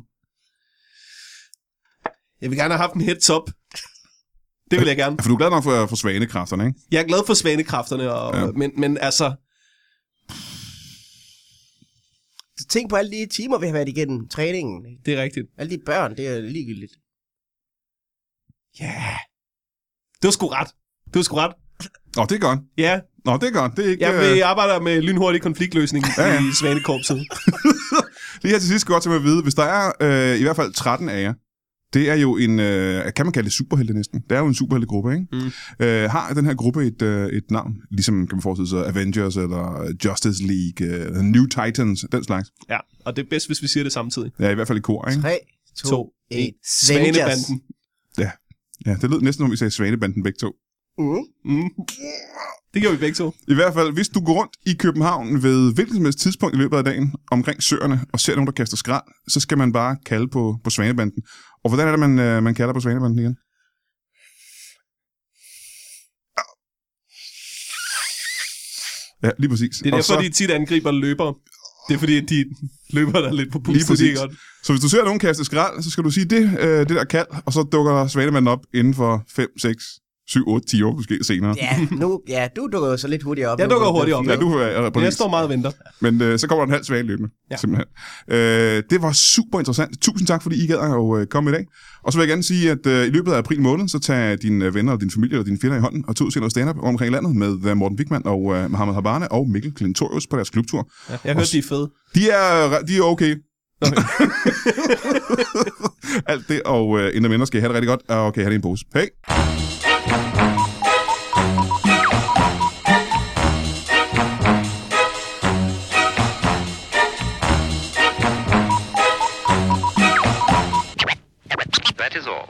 jeg vil gerne have haft en heads up. Det vil jeg gerne.
Ja, For du er glad nok for, for svanekræfterne, ikke?
Jeg er glad for svanekræfterne, og,
Ja.
ja. men, men altså,
Tænk på alle de timer, vi har været igennem træningen. ikke?
det er rigtigt.
Alle de børn, det er ligegyldigt.
Ja. Yeah. Det var sgu ret. Det var sgu ret.
Nå, det er godt.
Ja,
Nå, det er godt. Det er ikke...
jeg
øh,
vil- jeg arbejder med lynhurtig konfliktløsning
Ja,
ja,
ja.
ja. i Svanekorpset.
Lige her til sidst godt til mig at vide, hvis der er øh, i hvert fald 13 af jer, det er jo en, øh, kan man kalde det superhelte næsten? Det er jo en superheltegruppe, ikke? Mm. Øh, har den her gruppe et, øh, et navn? Ligesom kan man forestille sig Avengers eller Justice League, øh, New Titans, den slags.
Ja, og det er bedst, hvis vi siger det samtidig.
Ja, i hvert fald i kor, ikke?
3, 2,
To,
1.
Svanebanden.
Ja, det lød næsten, som om vi sagde Svanebanden begge to.
Mm.
Mm. Det gjorde vi begge to.
I hvert fald, hvis du går rundt i København ved hvilket som helst tidspunkt i løbet af dagen omkring søerne og ser nogen, der kaster skrald, så skal man bare kalde på, på Svanebanden. Og hvordan er det, man, øh, man kalder på Svanebanden igen? Ja, lige præcis.
Det er
Og
derfor,
så,
de tit angriber løbere. Det er fordi, at de løber der er lidt på
Lige
pustet,
præcis.
det er godt.
så hvis du ser nogen kaste skrald, så skal du sige det, øh, det der kald, og så dukker Svanemanden op inden for 5, 6, 7, 8, 10 år måske senere.
Ja, nu, ja, du dukker jo så lidt hurtigere op.
Jeg
nu,
dukker
du-
hurtigt op,
Ja, du er, er på
Men jeg
listen.
står meget og venter.
Men øh, så kommer der en halv svag løbende, ja.
Ja.
simpelthen. Øh, det var super interessant. Tusind tak, fordi I gad at øh, komme i dag. Og så vil jeg gerne sige, at øh, i løbet af april måned, så tag dine øh, venner og din familie og dine fjender i hånden og tog til noget stand-up rundt omkring landet med øh, Morten Wigman og øh, Mohammed Habane og Mikkel Klintorius på deres klubtur.
Ja, jeg hørte, de er fede.
De er, øh, de er okay. Alt det og øh, indre mennesker skal I have det rigtig godt, og kan I have det i en pose. Hej!
That is all.